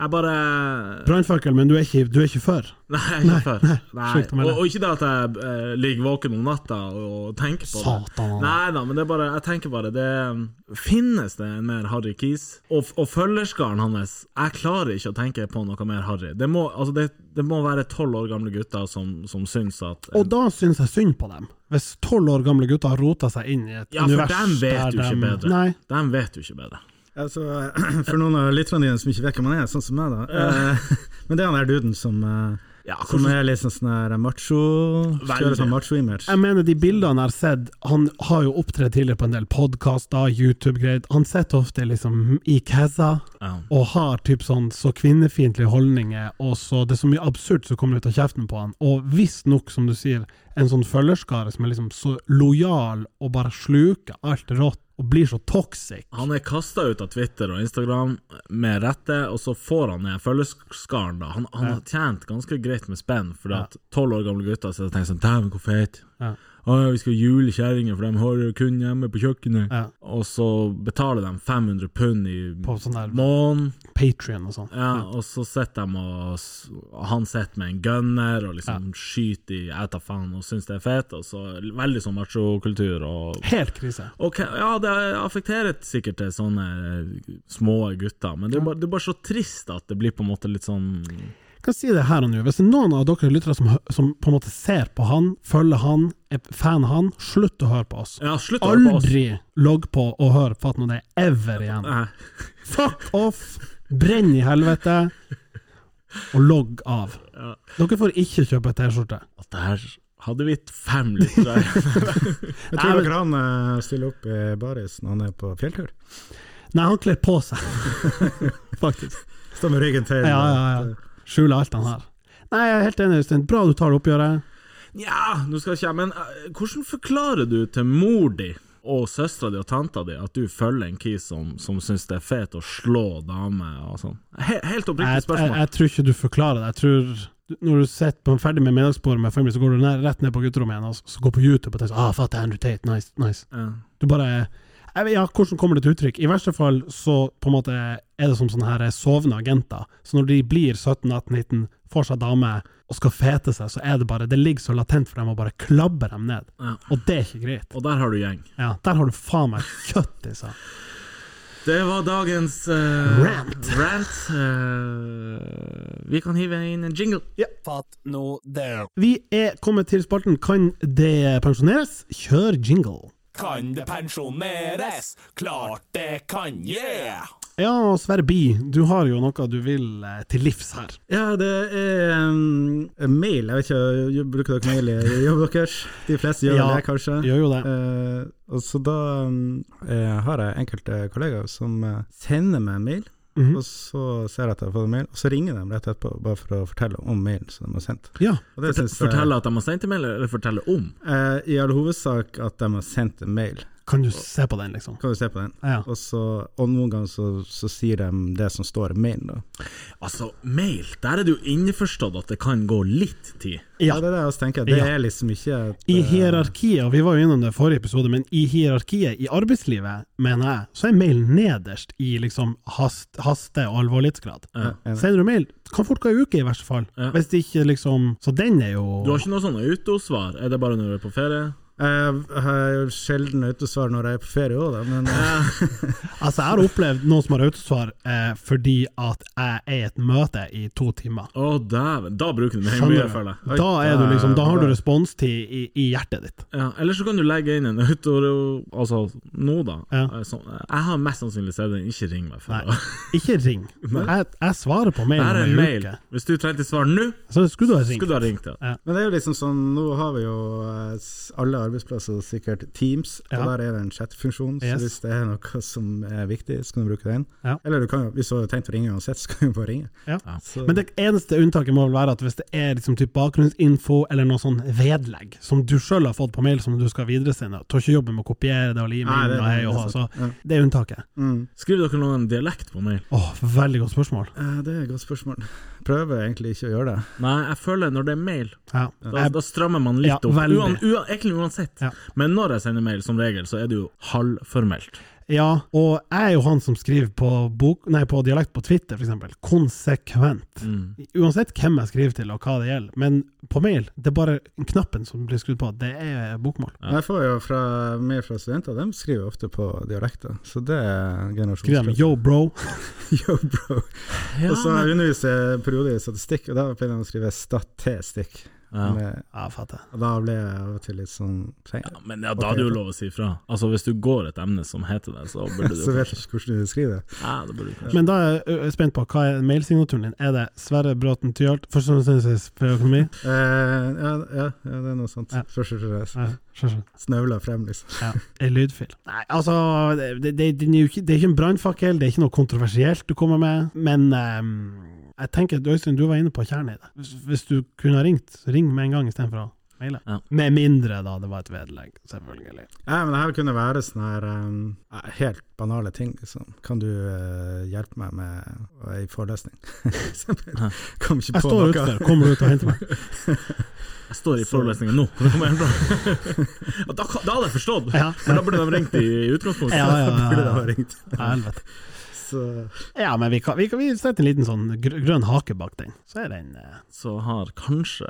D: jeg bare eh,
C: brannfakkel, men du er ikke, du er ikke for?
D: Nei, ikke før. Nei.
C: slutt med
D: Og,
C: det.
D: og ikke det at jeg eh, ligger våken om natta og tenker på det.
C: Satan. han er.
D: Nei da, men det er bare, jeg tenker bare det eh, Finnes det en mer Harry Kis? Og, og følgerskaren hans Jeg klarer ikke å tenke på noe mer Harry. Det må, altså det, det må være tolv år gamle gutter som, som syns at eh,
C: Og da syns jeg synd på dem. Hvis tolv år gamle gutter har rota seg inn i et
D: Ja, for
C: univers
D: dem vet
C: der
D: jo ikke
C: dem-
D: bedre.
C: Nei.
D: Dem vet jo ikke bedre.
E: Altså, for noen av lytterne dine som ikke vet hvem han er, sånn som meg, da. Eh, Men det er han der duden som, eh,
D: Ja,
E: som
D: hvordan-
E: er liksom sånn her macho Kjører sånn macho-image.
C: Jeg mener de bildene jeg har sett Han har jo opptredd tidligere på en del podkaster, YouTube-greier. Han sitter ofte liksom i kassa
D: ja.
C: og har typ sånn så kvinnefiendtlige holdninger, og så det er så mye absurd som kommer ut av kjeften på han, og visstnok, som du sier, en sånn følgerskare som er liksom så lojal og bare sluker alt rått, og blir så toxic.
D: Han er kasta ut av Twitter og Instagram med rette, og så får han ned følgeskaren. da Han, han har tjent ganske greit med spenn, fordi at tolv år gamle gutter sitter og tenker sånn Dæven, hvor feit.
C: Ja.
D: Å, ja, vi skal jule kjerringer, for de har jo kun hjemme på kjøkkenet.
C: Ja.
D: Og så betaler de 500 pund i
C: På sånn der
D: måneden.
C: Patrion og sånn.
D: Ja, og så sitter de og s- Han sitter med en gunner og liksom skyter i Jeg tar faen og syns det er fett. Og så Veldig sånn machokultur. Og
C: Helt krise.
D: Ok, ja, det affekterer sikkert til sånne eh, små gutter, men det er, bare, det er bare så trist at det blir på en måte litt sånn
C: Jeg kan si det her og nå. Hvis det er noen av dere lyttere som, hø- som på en måte ser på han, følger han, er fan av han, slutt å høre på oss.
D: Ja, slutt å høre på oss!
C: Aldri logg på og hør på at noe det er ever igjen.
D: Nei.
C: Fuck off! Brenn i helvete! Og logg av.
D: Ja.
C: Dere får ikke kjøpe T-skjorte.
D: At der hadde vi fem lyttere.
E: Jeg
C: Nei,
E: tror
C: men-
E: dere han eh, stiller opp i baris når han er på fjelltur.
C: Nei, han kler på seg, faktisk.
E: Står med ryggen til.
C: Ja, ja, ja. Skjuler alt han har. Nei, jeg er helt enig, Øystein. Bra du tar det oppgjøret.
D: Nja, nå skal ikke jeg Men eh, hvordan forklarer du til mor di og søstera di og tanta di at du følger en kis som, som syns det er fet å slå damer og sånn? He helt
C: Jeg,
D: oppriktig
C: jeg,
D: spørsmål.
C: jeg tror ikke du forklarer det. Jeg tror du- når du sitter på ferdig med middagsbordet med familie, så går du ned, rett ned på gutterommet igjen og s- så går på YouTube og tenker sånn, ah, fatt, Andrew Tate, nice, nice.
D: Ja.
C: Du bare jeg vet, Ja, hvordan kommer det til uttrykk? I verste fall så på en måte er det som sånne her sovende agenter. Så når de blir 17-18-19, får seg dame og skal fete seg, så er det bare Det ligger så latent for dem å bare klabbe dem ned.
D: Ja.
C: Og det er ikke greit.
D: Og der har du gjeng.
C: Ja, Der har du faen meg kjøtt altså. i seg.
D: Det var dagens eh,
C: Rant.
D: rant. Eh, vi kan hive inn en jingle.
A: Fatt nå det.
C: Vi er kommet til spalten Kan det pensjoneres? Kjør jingle.
A: Kan det pensjoneres? Klart det kan, yeah!
C: Ja, Sverre Bi, du har jo noe du vil eh, til livs her.
E: Ja, det er um, en mail. Jeg vet ikke, jo- bruker dere mail i jobben deres? De fleste gjør
C: Ja,
E: det, kanskje?
C: Gjør jo det.
E: Eh, og så da um, eh, har jeg enkelte kollegaer som eh, sender meg en mail,
C: Mhm.
E: og så ser jeg at jeg har fått en mail, og så ringer de rett etterpå bare for å fortelle om mailen som de har sendt.
C: Ja.
E: Og det synes jeg-
D: Fortelle at de har sendt e-mail, eller fortelle om?
E: eh, I all hovedsak at de har sendt en mail.
C: Kan du se på den, liksom?
E: Kan du se på den?
C: Ja.
E: Og, så, og noen ganger så, så sier de det som står i mailen, da.
D: Altså, mail, der er det jo innforstått at det kan gå litt tid.
E: Ja, det er det jeg også tenker. Det
C: Ja.
E: er liksom ikke et,
C: I
E: eh,
C: hierarkiet, og vi var jo innom det i forrige episode, men i hierarkiet i arbeidslivet, mener jeg, så er mail nederst i liksom hast, haste- og alvorlighetsgrad.
D: Ja.
C: Sender du mail, kan fort gå ei uke i verste fall,
D: Ja.
C: hvis det ikke liksom Så den er jo
D: Du har ikke noe sånn autosvar? Er det bare når du er på ferie?
E: Jeg har jo sjelden autosvar når jeg er på ferie òg, da, men eh,
C: Altså, jeg har opplevd noen som har autosvar eh, fordi at jeg er i et møte i to timer.
D: Å, dæven. Da bruker du den mye,
C: Skjønner
D: føler
C: du?
D: jeg.
E: Oi,
C: Da, er du
E: da-
C: liksom, da har du
E: da-
C: responstid i, i hjertet ditt.
D: Ja, eller så kan du legge inn en auto... Altså, nå, da.
C: Ja.
D: Eh, Sånn, eh, jeg har mest sannsynlig sett den. Ikke ring meg. for
C: Nei.
D: det.
C: Ikke ring. Jeg, jeg svarer på
D: Det
C: mail
D: her er en
C: om ei
D: mail.
C: uke.
D: Hvis du trengte svar nå,
C: Så skulle du ha
D: skulle
C: ringt.
D: du ha ringt. Ja.
E: Men det er jo liksom sånn, nå har vi jo eh, s- alle arbeidsplasser sikkert Teams,
C: Ja.
E: og der er det en chatfunksjon, så
C: Yes.
E: hvis det er noe som er viktig, så kan du bruke den.
C: Ja.
E: Eller du kan, jo- hvis du har tenkt å ringe uansett, så kan du bare ringe.
C: Ja.
E: Så,
C: Men det eneste unntaket må vel være at hvis det er liksom typ bakgrunnsinfo eller noe sånn vedlegg som du sjøl har fått på mail som du skal videresende, tar ikke jobben med å kopiere det og lime
E: Nei,
C: inn,
E: det-
C: og hei og hå,
E: det er
C: så
E: sant. Ja.
C: det er unntaket.
E: mm.
D: Skriv dere noen dialekt på mail.
C: Åh, veldig godt spørsmål.
E: Eh, det er et godt spørsmål. Prøver egentlig ikke å gjøre det.
D: Nei, jeg føler når det er mail,
C: Ja.
D: da, da strammer man litt
C: Ja,
D: opp.
C: veldig.
D: Uan, uan, egentlig uansett.
C: Ja.
D: Men når jeg sender mail, som regel, så er det jo halvformelt.
C: ja, og jeg er jo han som skriver på, bok, nei, på dialekt på Twitter, for eksempel, konsekvent.
D: Mm.
C: Uansett hvem jeg skriver til og hva det gjelder, men på mail, det er bare knappen som blir skrudd på, det er bokmål.
D: Ja.
E: Men Jeg får jo fra, mer fra studenter, de skriver ofte på dialekter, så det
C: Skriver
E: er
C: de
E: generasjonsklart.
C: 'yo, bro'?
E: Yo, bro.
D: Ja,
E: og så underviser jeg periode i statistikk, og da pleier de å skrive statistikk.
D: Ja.
E: Med,
C: Ja, fatter.
E: og da ble jeg av og til litt sånn trenger.
D: Ja, men ja, da er det jo lov å si ifra. Altså, hvis du går et emne som heter det, så burde du
E: Så vet jeg ikke hvordan du skriver det.
D: Ja, det burde du kanskje.
C: Men da er jeg ø- spent på, hva er mailsignaturen din? Er det Sverre Bråten Tyholt, førsteamanuensis for økonomi?
E: Eh, ja, ja, ja, det er noe sånt.
C: Ja.
E: Først og fremst.
C: Ja, skjønner.
E: Snøvla frem, liksom.
C: Ja, en lydfil. Nei, altså, det, det, det, den er jo ikke, det er ikke en brannfakkel, det er ikke noe kontroversielt du kommer med, men ehm, jeg tenker at Øystein, du var inne på kjernen i det. Hvis, hvis du kunne ha ringt, så ring med en gang istedenfor å mailet.
D: Ja.
C: Med mindre da det var et vedlegg, selvfølgelig.
E: Ja, men det her kunne være sånne her um, helt banale ting. Liksom. Kan du eh, hjelpe meg med ei forelesning? For eksempel. Kom
C: Jeg
E: ikke på
C: står
E: noe.
C: utenfor, kommer du ut og henter meg?
D: Jeg står i
E: Så-
D: forelesninga nå. Det kommer helt bra. Ja, da, kan- da hadde jeg forstått!
C: Ja,
D: Men da burde de ringt i utgangspunktet.
C: ja, ja, ja,
E: Burde det
C: ja.
E: ha ringt.
C: Helvete.
E: Så eh,
C: Ja, men vi, kan, vi, kan, vi setter en liten sånn gr grønn hake bak den, så er den eh,
D: Så har kanskje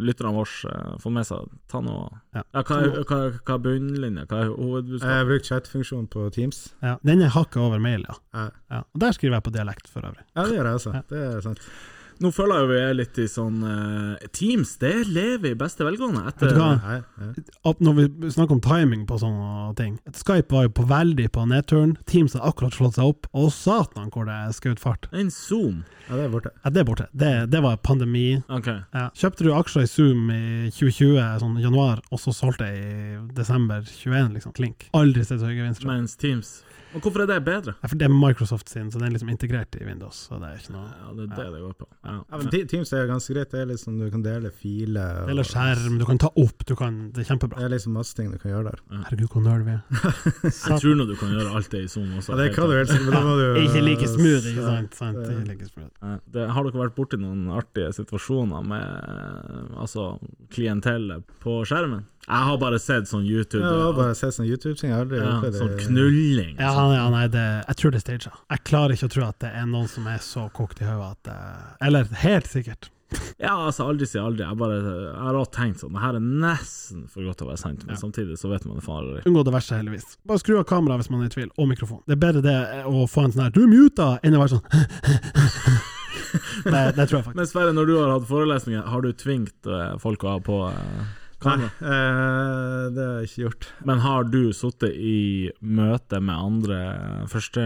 D: lytterne våre eh, fått med seg Ta nå
C: Ja.
D: ja. Hva er hva, hva er bunnlinja? Hva er
E: jeg
D: hovedbudskapet?
E: bruker chatfunksjonen på Teams.
C: ja, Den er hakket over mail, ja.
E: Ja,
C: ja. Og der skriver jeg på dialekt, for øvrig.
E: ja det gjør jeg også. Det er sant.
D: Nå føler jeg jo vi er litt i sånn eh, Teams, det lever i beste velgående
C: Vet
D: etter
C: du hva?
E: Nei, ja.
C: At når vi snakker om timing på sånne ting at Skype var jo på veldig på nedturen, Teams har akkurat slått seg opp, og satan hvor det skjøt fart.
D: en Zoom.
E: ja, det er borte.
C: Ja, det er borte. Det, det var pandemi.
D: Ok.
C: Ja. Kjøpte du aksjer i Zoom i 2020, sånn januar, og så solgte jeg i desember 21, liksom. Klink. Aldri sett så høye gevinster.
D: Mens Teams Og hvorfor er det bedre?
C: Ja, for det er Microsoft sin, så den er liksom integrert i Windows. Så det er ikke noe
D: Ja, det er det det går på. Ja.
E: Ja, men Te- Teams er jo ganske greit. Det er liksom, du kan dele filer. og-
C: Eller skjerm, du kan ta opp, du kan Det er
E: Det
C: kjempebra.
E: er liksom masse ting du kan gjøre der.
C: Herregud, hvor nerd vi er.
D: Jeg tror nå du kan gjøre alt det i Zoom også.
E: Ja, det kan du helt sikkert, men da må du
C: Ikke like smooth, ikke Eh, sant? Eh, sant? Ikke like smooth.
D: Ja, Det, har dere vært borti noen artige situasjoner med eh, altså, klientellet på skjermen? Jeg har bare sett sånn YouTube
E: Ja, det var bare å se sånn YouTube-ting. Jeg har aldri
D: ja,
E: opplevd det.
D: sånn knulling. sånn.
C: Ja, ja, nei, det, jeg tror det er staged. Jeg klarer ikke å tro at det er noen som er så kokt i hodet at eh, Eller helt sikkert.
D: Ja, altså, aldri si aldri. Jeg, bare, jeg har også tenkt sånn, det her er nesten for godt til å være sant, men samtidig så vet man det faen aldri.
C: Unngå det verste, heldigvis. Bare skru av kameraet hvis man er i tvil, og mikrofon. Det er bedre det å få en sånn her 'du er muta' enn å være sånn det, det tror jeg faktisk.
D: Men Sverre, når du har hatt forelesninger, har du tvingt eh, folk å ha på eh,
E: Nei,
D: kamera?
E: eh, det har jeg ikke gjort.
D: Men har du sittet i møte med andre eh, første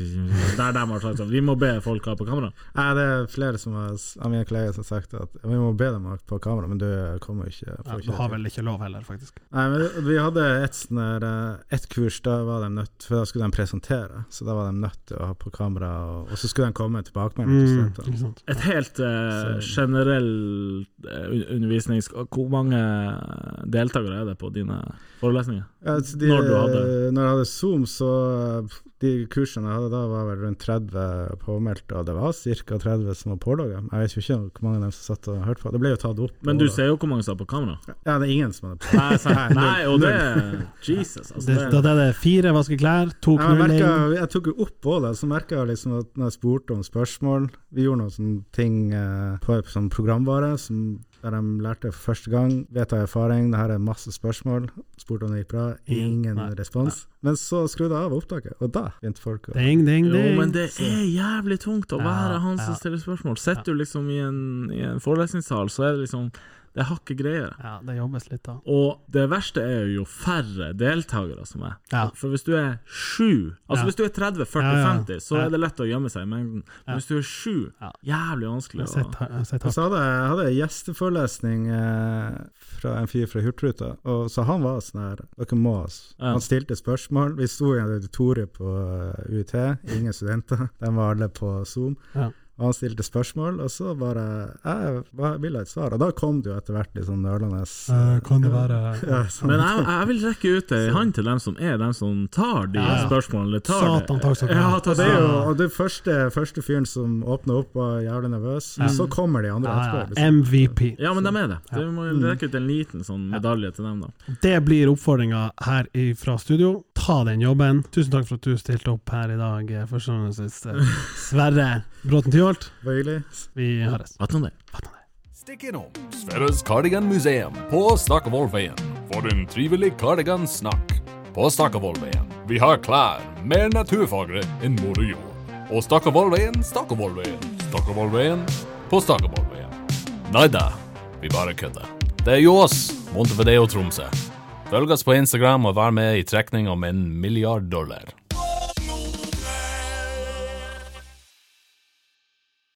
D: Der de har sagt sånn, vi må be folk ha på kamera?
E: Nei, det er flere som har, av mine kolleger som har sagt at vi må be dem ha på kamera, men du kommer jo ikke. får
C: Ja,
E: ikke
C: du
E: det
C: har
E: til.
C: vel ikke lov heller, faktisk.
E: Nei, men Vi hadde et, sånn der, eh, et kurs, da var de nødt for da skulle de presentere. Så da var de nødt til å ha på kamera, og, og så skulle de komme med tilbakemelding. til
C: Mm,
E: studentene.
C: ikke sant?
D: Et helt eh,
E: Så-
D: generell eh, un- undervisnings... Hvor mange deltakere er det på dine forelesninger?
E: Ja, så de, eh,
D: Når du hadde-
E: Når jeg hadde Zoom, så eh, De kursene jeg hadde da, var vel rundt 30 påmeldte, og det var ca. 30 som var pålogga. Jeg vet jo ikke hvor mange av dem som satt og hørte på. Det ble jo tatt opp.
D: Men du
E: og-
D: ser jo hvor mange som er på kamera.
E: Ja, det er ingen som hadde på.
D: Nei, sant. Nei og det Jesus, altså.
C: Det, da
D: Det,
C: det er det fire vaske klær, to
E: Ja, men
C: knulling
E: jeg, merket, jeg tok jo opp på det, så merka jeg liksom at når jeg spurte om spørsmål Vi gjorde noen sånne ting eh, på sånn programvare som, der de lærte for første gang. Vet av erfaring, det her er masse spørsmål. Spurte om det gikk bra. Ingen
C: Nei.
E: respons. Men så skrudde jeg av opptaket, og da begynte folk å
C: Ding, ding,
D: jo,
C: ding.
D: men det er jævlig tungt å
C: Ja,
D: være han
C: ja.
D: som stiller spørsmål. Sitter du liksom i en, i en forelesningssal, så er det liksom Det er hakket greier.
C: Ja, det jobbes litt da.
D: Og det verste er jo jo færre deltakere som er.
C: Ja.
D: For hvis du er sju Altså
C: Ja.
D: hvis du er 30, 40,
C: Ja, ja.
D: 50, så
C: Ja.
D: er det lett å gjemme seg i mengden. Men hvis du er sju,
C: Ja.
D: jævlig vanskelig
C: Jeg har
D: å
C: sett, jeg har sett
E: Og
C: hardt.
E: så hadde jeg hadde jeg gjesteforelesning eh, fra en fyr fra Hurtigruta, og så han var sånn her Dere må oss.
D: Ja.
E: Han stilte spørsmål. Vi sto i et auditorium på eh, UiT, ingen studenter, de var alle på Zoom.
C: Ja.
E: Og han stilte spørsmål, og så bare Jeg bare ville ha et svar. Og da kom det jo etter hvert litt sånn nølende
C: Eh, kan det være
E: ja,
C: altså.
E: sånn.
D: Men jeg, jeg vil rekke ut ei hånd til dem som er dem som tar de
C: Ja, ja.
D: spørsmålene. eller Tar
C: Satan, takk skal du
D: du ha.
C: ha.
D: Ja, takk
E: Det er
D: skal du
E: jo,
D: ha.
E: og det første, første fyren som åpna opp, var jævlig nervøs. Men Så kommer de andre
C: ja, ja,
E: etterpå. liksom.
C: MVP.
D: Ja, men de er det. Vi må
C: Mm.
D: jo rekke ut en liten sånn medalje til dem, da.
C: Det blir oppfordringa her i- fra studio. Ta den jobben. Tusen takk for at du stilte opp her i dag, eh, først og fremst eh, Sverre Bråten Tyholt.
E: Det var hyggelig.
C: Vi høres.
D: Vet du om det?
C: Fatt han det.
A: Stikk innom Sverres Cardigan-museum på Stakkevollveien for en trivelig cardigan-snakk. På Stakkevollveien vi har klær mer naturfagre enn mor og jord. Og Stakkevollveien, Stakkevollveien, Stakkevollveien på Stakkevollveien. Nei da, vi bare kødder. Det er jo oss, Montevideo Tromsø. Følg oss på Instagram og vær med i trekning om en milliard dollar.